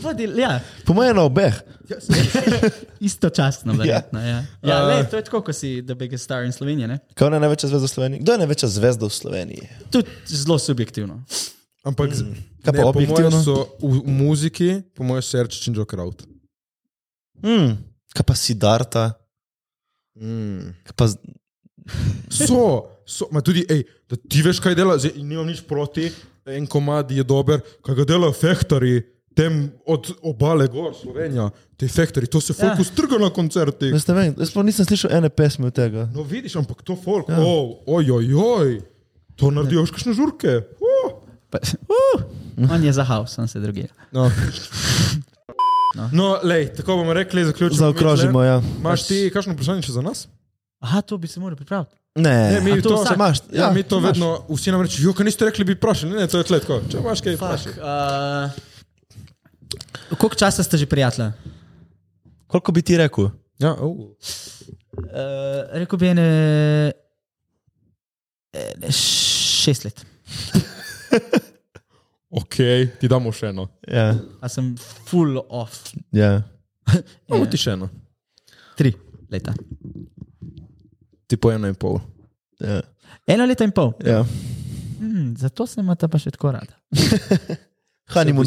Bodi, ja,
Po mojem na obeh.
istočasno, verjetno. Ja, ja
Uh,
le, to je tako, kot si The Biggest Star in Slovenija. ne.
Kaj je ona je največja zvezda v Sloveniji? Kdo je največja zvezda v Sloveniji?
Tudi zelo subjektivno.
Ampak, z-
Kaj pa
ne, po mojem
objektivno?
so v, v muziki, po mojem, Serčič in Joe Crowd.
Mm. Kaj pa si Darta?
Mm.
Pa, z-
So, so, ma tudi, ej, da ti veš, kaj dela, zdaj nimam nič proti, en komad je dober, kaj ga delajo fehtari, tem od obale gor, Slovenija, ti fehtari, to se
Ja.
fokus ja. trga na koncertih.
jaz ne vem, jaz pa nisem slišal ene pesmi od tega.
No, vidiš, ampak to folk, ja. oh, ojoj, oj, to naredijo še kakšne žurke. Oh.
Pa, uh, on je zahal, sem se drugi.
No. No, lej, tako bomo rekli, zaključimo.
Zaokrožimo, ja.
Imáš ti kakšno vprašanje še za nas?
Aha, to bi se moral pripraviti.
Ne,
Ne, mi
A to
to,
vsak-
imaš,
ja,
ja,
mi to
imaš.
vedno, vsi nam rečejo, kaj niste rekli, bi vprašali. Ne, ne, to je tletko. Če imaš kaj, vprašaj.
Fuck, uh, koliko časa ste že prijatelja?
koliko bi ti rekel?
Ja, uh.
Uh, rekel bi ene, ene šest let.
Ok, ti damo še eno.
Ja,
A sem full off.
*laughs*
ja.
Damo ti še eno.
Tri leta.
Ti po eno in pol.
ja.
Eno leto in pol.
ja.
Hmm, zato se ima ta pa še tako rada.
Honeymoon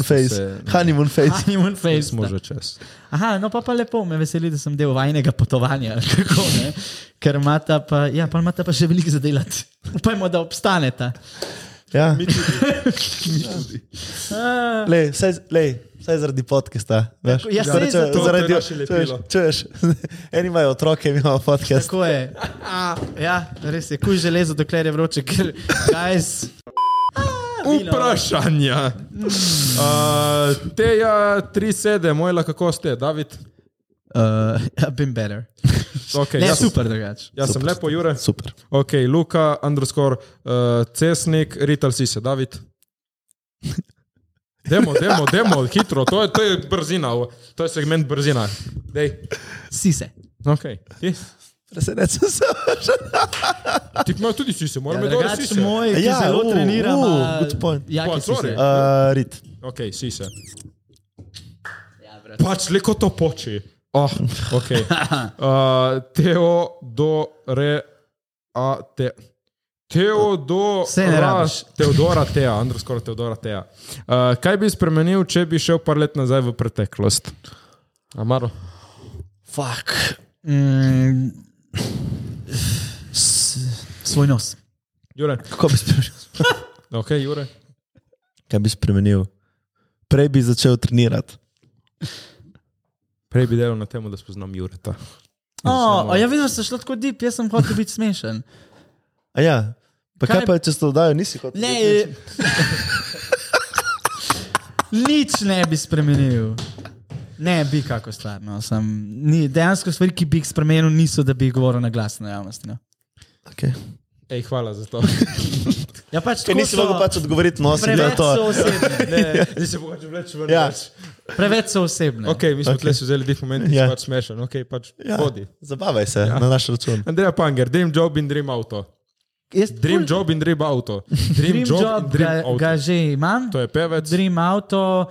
Saj, v bistvu
face,
se-
honeymoon
*laughs*
face.
Honeymoon phase.
Smo
da.
že čez.
Aha, no pa, pa lepo, me veseli, da sem del vajnega potovanja, ali kako, ne? ker imata pa, ja, pa, imata pa še veliko za delati. Upajmo, da obstaneta.
Ja.
Ah,
Lej, saj, lej, saj zaradi podcasta. veš. Torej,
Ja, saj
Zaradi-
zato.
To je naše
čuješ,
lepilo.
čuješ, *laughs* eni imajo otroke, mi imamo podcast.
Tako je. Ja, res je, kuj železo, dokler je vroče, ker guys.
*laughs* Vprašanja. Uh, Teja 37, mojla, kako ste, David?
Uh, I've been better.
Okay,
Ne,
jaz,
super drugače.
Jaz sem lepo, Jure.
Super.
Ok, Luka, underscore, uh, Cesnik, Rital si se, David. Demo, demo, demo, hitro, to je, to je brzina, o, to je segment brzina. Dej.
Si se.
Ok, ti,
Presenečen sem.
ti imaš tudi si se, moram
Ja,
reči, da si
drugače
se.
moj, ki
Ja,
ja, zelo
u,
uh, treniram.
u,
a-
good point.
Ja,
Pa,
ki si
sorry.
se.
*laughs* Uh, Rit.
Ok, si se. Pač le kot to poči. Oh, *laughs* okay. uh, teo do re, a te. Teodora,
Saj ne rabiš.
Teodora Teja, underscore Teodora Teja. Uh, kaj bi spremenil, če bi šel par let nazaj v preteklost? Amaro.
Fuck. Mm, s- svoj nos.
Jure.
Kako bi spremenil? *laughs*
Ok, Jure.
Kaj bi spremenil? Prej bi začel trenirati.
Prej bi delal na tem, da spoznam Jureta.
Oh, ja, videl sem šlo tako deep, jaz sem hotel biti smešen.
A ja. Pa kaj, kaj
Kaj-
pa, če ste oddajali, nisi kot
Ne, eh, *laughs* nič ne bi spremenil. Ne bi kako stvar. No. Sem, ni, dejansko stvari, ki bi jih spremenil, niso, da bi jih govoril na glas na javnosti. No.
Okay.
Ej, hvala za to.
Ja, pač,
Ker
tako
nisi
so-
mogel pač odgovoriti nosi,
Preveč
da je to.
so osebne.
*laughs*
ne, *laughs* zdaj se boš vleč v
Ja.
noč.
Preveč so osebne.
Ok, mi smo okay. tle si vzeli tih momentov,
No. Ja.
yeah. pač smešen, ok, pač
Ja,
yeah. hodi.
zabavaj se ja. na naš račun.
Andreja Panger, dream job in dream auto.
Jaz
Dream
ful-
job in dream
*laughs*
auto. Dream,
dream job, job
dream
ga,
auto.
ga že imam.
To je pevec.
Dream Auto, uh,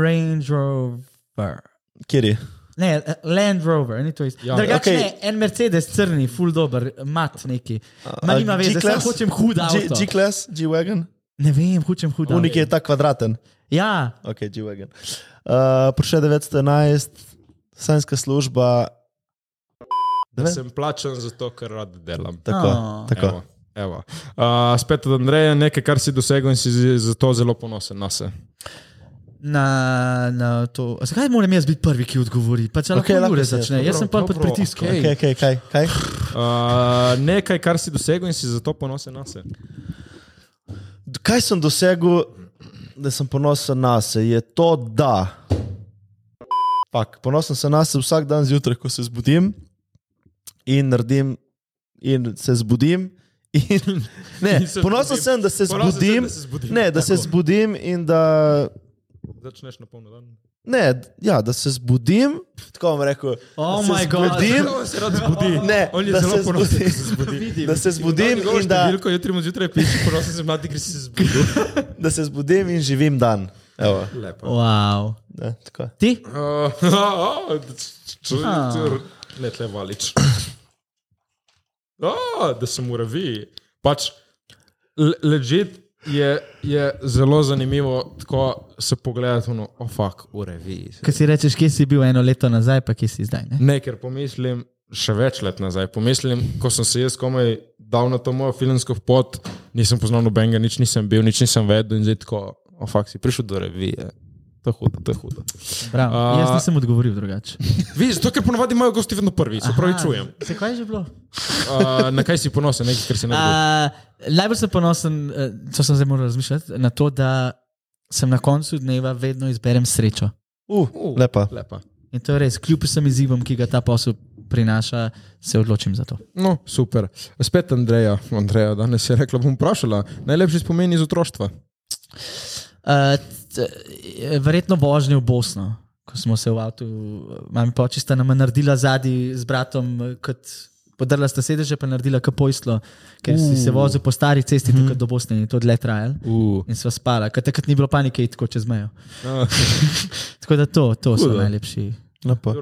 Range Rover.
Kiri.
Ne, eh, Land Rover, ni to isto. Ja,
Ja.
Drugače,
Okej.
okay. ne, en Mercedes crni, full dober, mat neki. Ma
A
nima veze, samo
G-class?
hočem hud
G-
avto.
G-Class, G-Wagon.
Ne vem, hočem hud
Ja,
avto.
Unik je ta kvadraten.
Ja,
Ok, G-Wagon. Uh, Prišel 911, sanjska služba.
Da sem plačen za to, kar rad delam.
Tako,
Oh.
oh. tako.
Evo. Evo. Uh, spet od Andreja, nekaj, kar si dosegel in si z- zato zelo ponosen na se.
na, na to. A Zakaj moram jaz biti prvi, ki odgovori? Pa če
Okej,
okay, lahko
lahko
ure
si,
začne, jaz
dobro,
sem pa pod
dobro,
pritiskom.
okej.
Okay.
Okay, okay, kaj, kaj?
Uh, nekaj, kar si dosegel in si zato ponosen na se.
D- kaj sem dosegel, da sem ponosen na sebe? Je to, da. Pak, ponosen sem na sebe vsak dan zjutraj, ko se zbudim in naredim, in se zbudim.
*laughs*
In, ne,
In se
ponosen
zbudim.
sem, da se
Ponosen sem,
zbudim.
da se zbudim.
Ne, da se
Tako.
zbudim in da
Začneš na polno dan.
Ne, d- ja, da se zbudim, tako vam rekel.
Oh
da
my
se
god.
zbudim,
On se rad *laughs* zbudi.
Ne,
On je
da
zelo
se
ponosen, da
zbudi.
se zbudi.
da se zbudim in da,
Veliko jutri mu zjutraj piše, ponosen sem mladi, ker si se zbudil.
da se zbudim in živim dan. Evo,
Lepo.
Wow.
da, tako.
Ti?
*laughs* Uh, ne, tle valič. *clears throat* Ah, Oh, da sem uravi. Pač, le- legit, je, je zelo zanimivo tako se pogledati, no, ofak, oh, fuck, v reviji.
Kaj si rečeš, kje si bil eno leto nazaj, pa kje si zdaj? Ne?
Ne, ker pomislim, še več let nazaj, pomislim, ko sem se jaz komaj dal na to mojo filmsko pot, nisem poznal nobenega, nič nisem bil, nič nisem vedel in zdaj tako, ofak, oh, fuck, si prišel do revije. To je hudo, to je hudo.
Bravo.
A-
Jaz nisem odgovoril drugače.
Vi, zato ker ponovadi imajo gosti vedno prvi, se pravi, čujem.
Se kaj je že bilo?
Uh, na kaj si ponosen, nekaj, kar si ne znaš?
A, najbolj sem ponosen, eh, to sem zdaj moral razmišljati, na to, da sem na koncu dneva vedno izberem srečo.
Uh,
Uh,
lepa.
Lepa.
In to je res, kljub vsem izzivom, ki ga ta posel prinaša, se odločim za to.
No, super. Spet Andreja. Andreja danes je rekla, bom vprašala. Najlepši spomin iz otroštva.
Uh, t- eh, verjetno vožnje v Bosno, ko smo se v avtu, mami počista nam je naredila zadnji z bratom, eh, kot podarila sta sedeže, pa naredila kapojslo, ker uh. si se vozil po stari cesti, mm. tako do Bosne in je to dlje trajal.
Uh.
In sva spala, ker takrat ni bilo panike, iti tako čez mejo.
Ah.
*laughs* Tako da to, to so
Hudo.
najlepši.
lepa.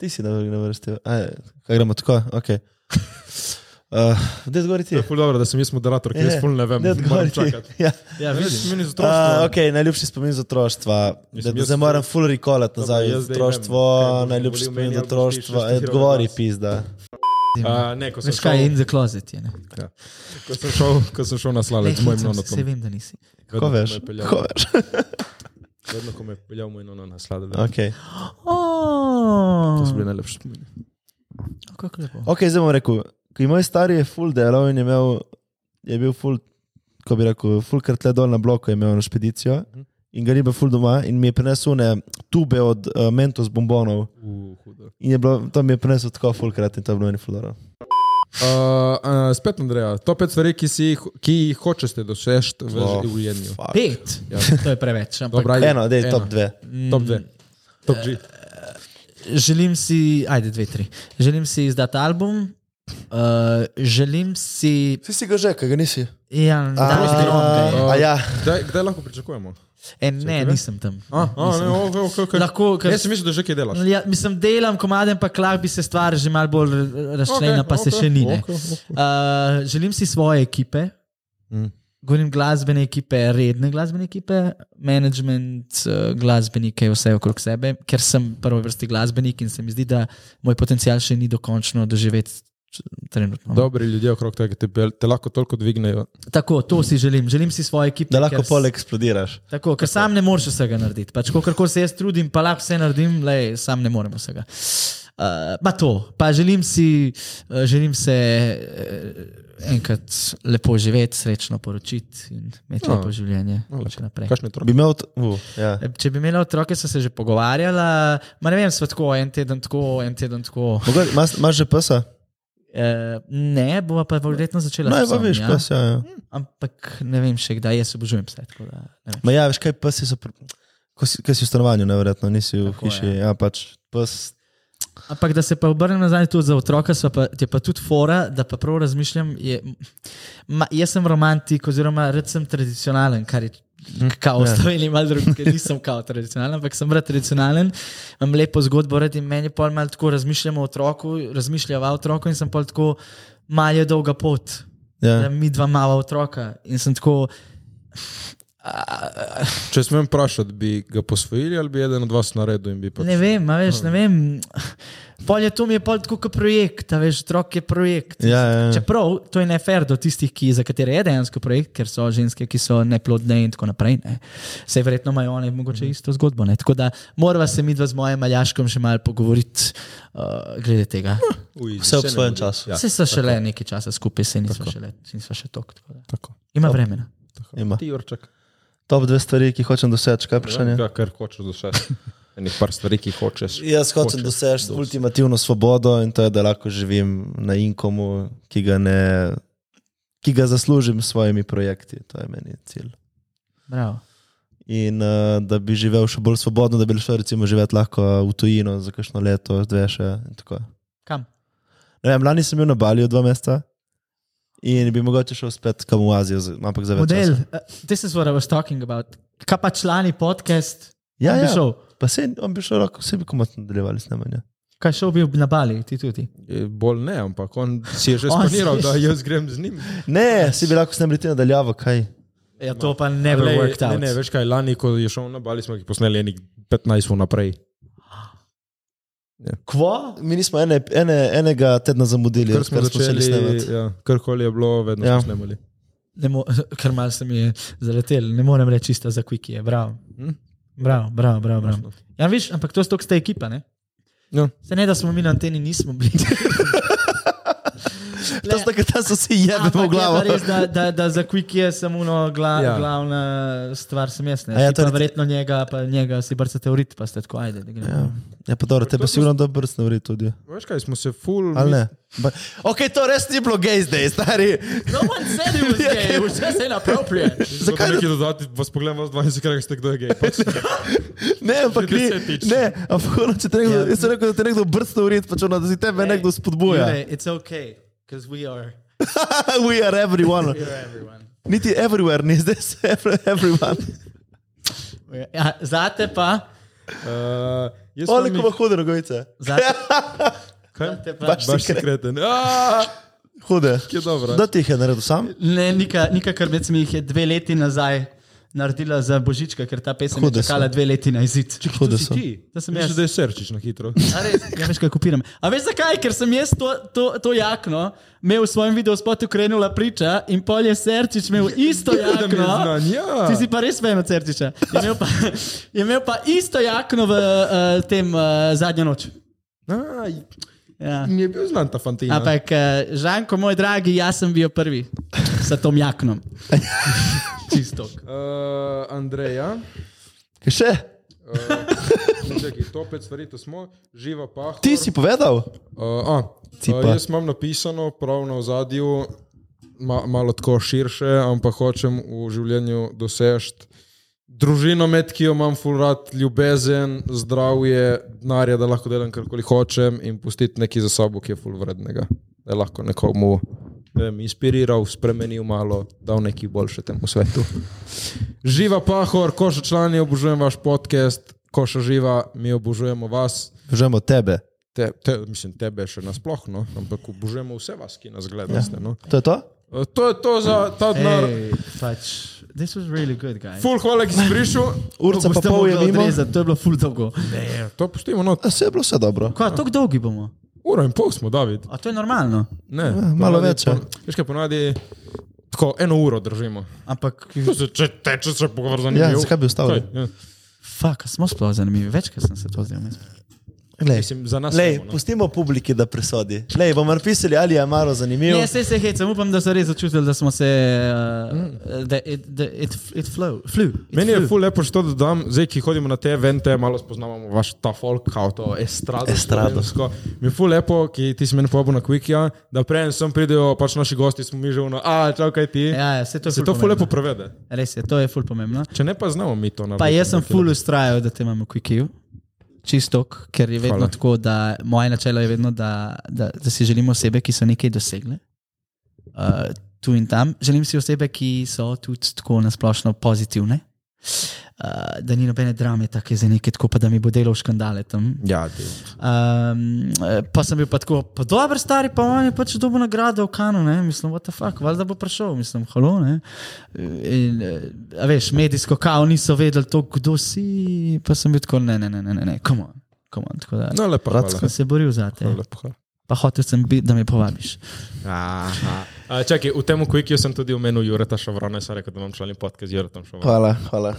Ti si na na vrsti. Aj, Kaj gremo tako? *laughs* Okay. Uh, Dej zgori ti.
Je ful dobro, da sem jaz moderator, ker jaz ful ne vem,
Dej zgori
moram
ti.
čakati.
Eh, Ja.
Ja,
Najlepši spomin iz
Uh,
otroštva.
okay, najljubši spomin iz otroštva. Da,
Mislim,
da
jaz
zdaj
ful-
moram full recallati
Dobro,
nazaj.
jaz
iz
zdaj
Otroštvo,
ne vem, kaj boš
najljubši
govoril
spomin iz
meni, ali boš ti
otroštva.
šel
Ej, Odgovori,
študirat.
pizda.
Uh, ne, ko sem,
Veš kaj,
šel,
in za klozet je. Ne?
ko, sem šel, ko sem šel na slalec z
Ne,
mojim
hecam se,
nonotom.
se vem, da nisi.
Vedno,
Ko
ko me
veš?
je peljal-
Ko veš? *laughs*
Vedno, ko me je peljal moj nono na sladek.
Okay.
To so
Oh, No,
bili najlepši spomini.
kako lepo.
ok, zdaj bom rekel. Ki moj stari je full delal in je, imel, je bil full, ko bi rekel, full krat le dol na bloku, je imel na špedicijo. In ga ni bilo ful doma, in mi je prinesel ne tube od uh, Mentos bombonov.
Uh, hudo.
In je bilo, tam je prinesel tako fulkrat in to je bilo eni fulano.
Uh, uh, spet, Andreja, to pet stvari, ki, si, jih- ki jih hočeš doseči v življenju.
Pet,
Ja.
to je preveč. Ampak
Dobra, ajde,
Oh, Eno, dej, top dve.
Top dve. Mm. Top G.
želim si, ajde, dve, tri. Želim si izdati album, uh, želim si.
Ti si ga že, kaj ga nisi?
Ja, da,
je.
A ja,
Kdaj, kdaj lahko pričakujemo?
e, ne, nisem tam.
A, a, ne, ok, ok, ok.
Lahko, ker-
Jaz sem mislil, da že kaj delaš.
Ja, mislim, delam komade, ampak lahko bi se stvar že malo bolj razčlenila, okay,
Okej,
pa okay, se
okej,
še ni. ne.
okej, okej.
Uh, želim si svoje ekipe,
Mm.
govorim glasbene ekipe, redne glasbene ekipe, management, uh, glasbenike, vse okrog sebe, ker sem prvo vrsti glasbenik in se mi zdi, da moj potencial še ni dokončno doživeti č- trenutno.
Dobri ljudje okrog tega te, pel- te lahko toliko dvignejo.
Tako, to si želim. Želim si svoje ekipe.
da lahko
ker s-
pol eksplodiraš.
Tako, ker sam ne moreš vsega narediti. Pač, Kako se jaz trudim, pa lahko vse naredim, le sam ne morem vsega. Uh, pa to, pa želim si, uh, želim se uh, enkrat lepo živeti, srečno poročiti in imeti no.
No.
lepo življenje.
No,
še naprej. Eh,
Kakšne trobe?
Bi imel, t- uh, ja.
Če bi imela otroke, sem se že pogovarjala, ma ne vem, sva tako, en teden tako, en teden tako.
Mogoče- imaš- Imaš že psa?
E, ne, bova pa verjetno začela
No,
s
je pa
psom,
veš,
ja.
pes, ja. ja.
Ampak ne vem še kdaj, jaz obožujem pse. tako da ne vem.
Ma ja, veš kaj, psi so, pr- ko si, ko si v stanovanju, neverjetno, nisi v
Tako,
Tako, hiši. Ja, pač pes.
Ampak da se pa obrnem nazaj tudi za otroka, sva pa, je pa tudi fora, da pa prav razmišljam. Je, ma, jaz sem romantik, oziroma rad sem tradicionalen, kar je kao v *laughs* Sloveniji, malo drugače, ker nisem kao tradicionalen, ampak sem rad tradicionalen, imam lepo zgodbo, rad in meni pol malo tako razmišljamo o otroku, razmišljava o otroku in sem pol tako, malo je dolga pot da
Ja.
mi dva mala otroka. In sem tako,
Če smem vprašati, bi ga posvojili ali bi eden od vas naredil in bi pač.
ne vem, a veš, ne vem. Pol je to mi je pol tako kot projekt, a veš, otrok je projekt.
Ja, ja, ja.
Čeprav to je nefer do tistih, ki, za katere je dejansko projekt, ker so ženske, ki so neplodne in tako naprej. Ne. Se verjetno imajo one
Mhm.
mogoče isto zgodbo. Ne. Tako da morava se midva z mojim maljaškom še malo pogovoriti uh, glede tega.
Uj,
Vse ob
se ne
svojem
mudi.
času.
Ja,
Vse so šele nekaj časa skupaj, se nismo še, nisva še tok. tako da.
tako.
Ima vremena.
tako.
Ima.
Ti, Jurček.
Top dve stvari, ki hočem doseči, kaj je vprašanje?
Ja, kar hočeš do sebe. Enih par stvari, ki jih hočeš.
Jaz hočem doseči ultimativno svobodo in to je, da lahko živim na inkomu, ki ga, ne, ki ga zaslužim s svojimi projekti. To je meni cilj.
Bravo.
In uh, da bi živel še bolj svobodno, da bi šel recimo živeti lahko eh, v tujino za kakšno leto, dve še. in tako.
Kam?
Ne Vem, lani sem bil na Balju dva meseca in bi mogoče šel spet kam v Azijo, z- no, ampak za več.
Model,
časa.
uh, this is what I was talking about. Kaj pa člani podcast?
Ja,
Kam bi
ja.
šel?
Pa se on bi šel lahko, vse bi komat nadaljevali snemanje.
Kaj šel bi na Bali, ti tudi?
Eh, Bolj ne, ampak on si je že
*laughs* On si-
spomnil, da jaz grem z njim.
Ne, si bi lahko snemali ti nadaljavo, kaj.
Ja, to pa ne bi worked
Torej,
out.
ne, ne, veš kaj, lani, ko je šel na Bali, smo jih posneli enih 15 vnaprej.
Kva? Mi nismo ene, ene, enega tedna zamudili,
Ker smo začeli,
snemati.
ja, karkoli je bilo, vedno
Ja.
smo snemali.
Ne mo- *laughs* Kar mal se mi je zaletel, ne morem reči čista za kviki, bravo.
Hm?
Bravo, bravo, bravo. bravo. Ja, viš, ampak to je stok sta ekipa, ne?
Ja.
Se ne, da smo mi na anteni, nismo
*laughs*
bili.
Tam sta, tam so si jebemo v
ja. Ampak je
glavo.
pa res, da, da, da za Quick je samo no, gla,
Ja.
ja. glavna stvar, sem jaz.
A ja,
Ja,
torej
torej...
ti-
Verjetno njega, pa njega si brcate urit, pa ste tako, ajde. da gremo.
Ja. Ja, pa dobro, tebe sigurno da brcne vri tudi. ja.
Veš kaj, smo se full.
Ali ne? Ba ok, to res ni bilo gej zdaj, stari. *laughs*
No one said it was
Ja,
gay, it was just inappropriate.
Zakaj
Zakaj
neki dodati, vas pogledam, vas 20 krat ste kdo je gej.
*laughs*
Pač,
Ne, ampak ni.
Desetič.
Ne, ampak ono, če te nekdo,
Ja.
jaz sem rekel, da te nekdo brcne vri, pač ono, da si tebe nekdo spodbuja.
Jure, it's okay, because we are,
*laughs* We are everyone.
we are everyone.
Niti everywhere, ni zdaj se every- everyone.
We are- Ja, zate pa,
uh, jaz sem
Oliko ima hude rogovice.
zate,
Kaj?
Ja,
zate pa.
Baš- *laughs*
Baš sekreten. Ja! Aaaa,
Hude.
ki je dobro.
Da ti jih je naredil sam?
Ne, Nika, Nika Krbec mi jih je dve leti nazaj naredila za Božička, ker ta pesem
Hude
je čakala
so.
dve leti na izid.
Hude
si
so.
ti.
To sem jaz.
Mislim, da je srčiš na
*laughs*
hitro.
A res, ja, veš, kaj kopiram. A veš zakaj? Ker sem jaz to, to, to jakno imel v svojem videu spotu krenula priča in pol je Serčič imel isto
Ja, Da mi je
jakno.
znan, ja.
Ti si pa res ven od Serčiča. Je imel pa, *laughs* je imel pa isto jakno v uh, tem uh, zadnjo noč.
Aj,
Ja.
mi je bil znan ta fantina.
Ampak, eh, Žanko, moj dragi, jaz sem bil prvi s tom jaknom.
*laughs*
Čisto.
Uh, Andreja, eh,
Kaj še? *laughs*
čakaj, tople stvari, to smo, živa pa.
Ti si povedal?
Uh, a,
Ti
uh,
pa.
jaz imam napisano prav na ozadju, ma, malo tako širše, ampak hočem v življenju dosežeti družino, med ki jo imam fulrat, ljubezen, zdravje, denarja, da lahko delam karkoli hočem in pustiti nekaj za sabo, ki je fulvrednega. Da je lahko nekomu ne vem, inspiriral, spremenil malo, dal nekaj boljše temu svetu. Živa pahor, koša člani, obožujem vaš podcast, koša živa, mi obožujemo vas.
Žemo tebe.
Te, te, mislim, tebe še nasploh, no? ampak obožujemo vse vas, ki nas
Ja.
gledate. No?
To je to?
E, To je to za ta denar.
Ej, pač, this was really good, guys.
Ful, hvala, ki si prišel.
Urca pa
Boste
pol je
mogli
mimo.
odrezati, To je bilo ful dolgo.
To pustimo, no,
A se je bilo vse dobro.
Kaj, tako dolgi bomo?
uro in pol smo, David.
A to je normalno.
Ne,
malo
ponavadi
več, ja.
po- Veš kaj, ponadi tako eno uro držimo.
Ampak,
To se Če teče, se pogovarjamo za
Ja,
nekaj.
zakaj bi ustavili?
Ja.
fuck, a smo sploh zanimivi, večkrat sem se to zdaj umil.
Lej,
Mislim, za nas
Lej,
samo, no.
pustimo publiki, da presodi. Lej, bomo napisali, ali je Maro zanimiv.
Ne, se se hecam, upam, da so res začutili, da smo se, uh, da it, da it, it flow, flew. It
Meni je
flew.
ful lepo, što da dam, zdaj ki hodimo na te evente, malo spoznavamo vaš ta folk, kao to estrado.
Estrado.
slovensko. Mi je ful lepo, ki ti si meni pobil na Quickija, da prej sem pridejo pač naši gosti, smo mi že vno, a čau kaj ti.
Ja, ja, se to je
Se
ful
to ful
pomembno.
lepo prevede.
Res je, to je ful pomembno.
Če ne pa znamo mi to narediti.
Pa jaz sem ful ustrajal, da te imamo v Quickiu. Čisto, ker je vedno
Hvala.
Hvala. tako, da moje načelo je vedno, da, da, da si želimo osebe, ki so nekaj dosegle. Uh, tu in tam. Želim si osebe, ki so tudi tako nasplošno pozitivne. Uh, da ni nobene drame, tako je za nekaj, tako pa da mi bo delo v škandale tam.
Ja, ti.
Um, pa sem bil pa tako, pa dober stari, pa on je pač dobil nagrado v Kanu, ne? mislim, what the fuck, valjda bo prišel, mislim, halo. Ne? In, eh, a veš, medijsko kao niso vedeli to, kdo si, pa sem bil tako, ne, ne, ne, ne, ne, ne, come on, come on, tako da.
No, lepo.
Sem
Hvala.
se boril za te,
Lepo, hvala.
pa hotel sem biti, da me povabiš.
Aha. A, čakaj, v tem Quickiju sem tudi omenil Jureta Šavrona, jaz sem rekel, da imam člani podcast z Juretom Šavronom.
Hvala, hvala.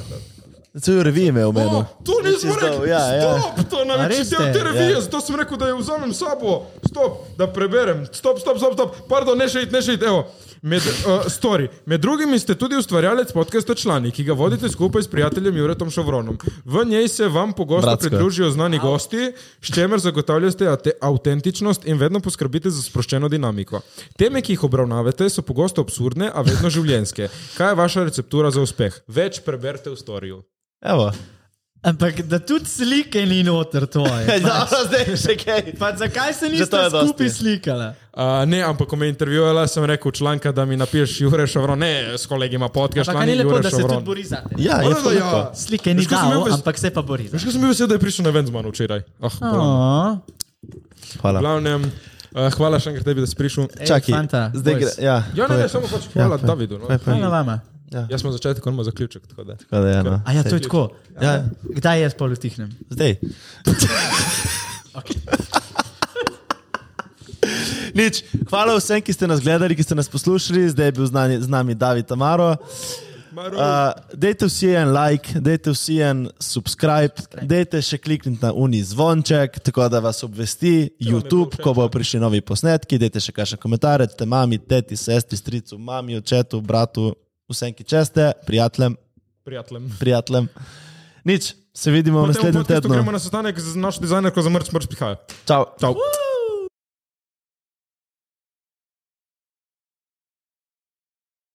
Tu je revij imel meni.
To nisem
Nisi izdal,
rekel,
ja, ja.
stop, to nam
A
je
res
del te
ste? Ja.
revije, zato sem rekel, da jo vzamem s sabo, stop, da preberem, stop, stop, stop, stop. pardon, ne še it, ne še it, evo. Med, uh, story. Med drugim ste tudi ustvarjalec podcasta Člani, ki ga vodite skupaj s prijateljem Juretom Šavronom. V njej se vam pogosto
Bratsko.
pridružijo znani gosti, s čemer zagotavljate ate- avtentičnost in vedno poskrbite za sproščeno dinamiko. Teme, ki jih obravnavate, so pogosto absurdne, a vedno življenske. Kaj je vaša receptura za uspeh? Več preberite v storju. *laughs*
Evo.
Ampak da tudi slike ni noter
Ej,
*laughs* ja.
tvoje.
dobro, zdaj še kaj.
Pa zakaj se
Že to
niste
je dosti.
skupaj slikala?
Uh, ne, ampak ko me je intervjuvala, sem rekel članka, da mi napišeš Jure Šavron, ne, s kolegima podcast,
Pa ni
člani
lepo,
Jure
da se tudi
Šavron.
bori za te.
Ja, je
Moram,
to
da ja.
lepo.
Slike ni
Veš, ko sem imel
dal,
ves-
ambil... ampak se pa bori za
Veš,
te.
kaj sem bil vesel, da je prišel na event z mano včeraj. Ah, oh.
Oh.
Hvala.
Glavnem, uh, hvala še enkrat tebi, da si prišel.
Ej,
Čakaj,
fanta, boys.
zdaj gre. Ja,
Ja, ne,
povej.
ne, samo pač hvala
Ja,
Davidu. No.
povej, povej.
Hvala vama.
Ja.
Jaz sem na začetku, on ima zaključek. tako da.
Tako da je, no.
A ja, to je tako.
Ja.
Kdaj jaz pa vtihnem? *laughs*
Zdaj. Nič. Hvala vsem, ki ste nas gledali, ki ste nas poslušali. Zdaj je bil z nami, z nami David Tamaro. Uh, dajte vsi en like, dajte vsi en subscribe, dajte še klikniti na uni zvonček, tako da vas
vam
obvesti
je
YouTube,
bilo všeč,
ko bodo prišli novi posnetki. Dajte še kakšne komentarje, te mami, teti, sestri, stricu, mami, očetu, bratu, vsem, ki česte, prijateljem,
Prijateljem.
prijateljem. Nič, se vidimo
Potem v
v naslednjem
podkastu gremo
tednu.
na sestanek z našo dizajnerko za mrč, mrč prihaja.
Čau.
Čau.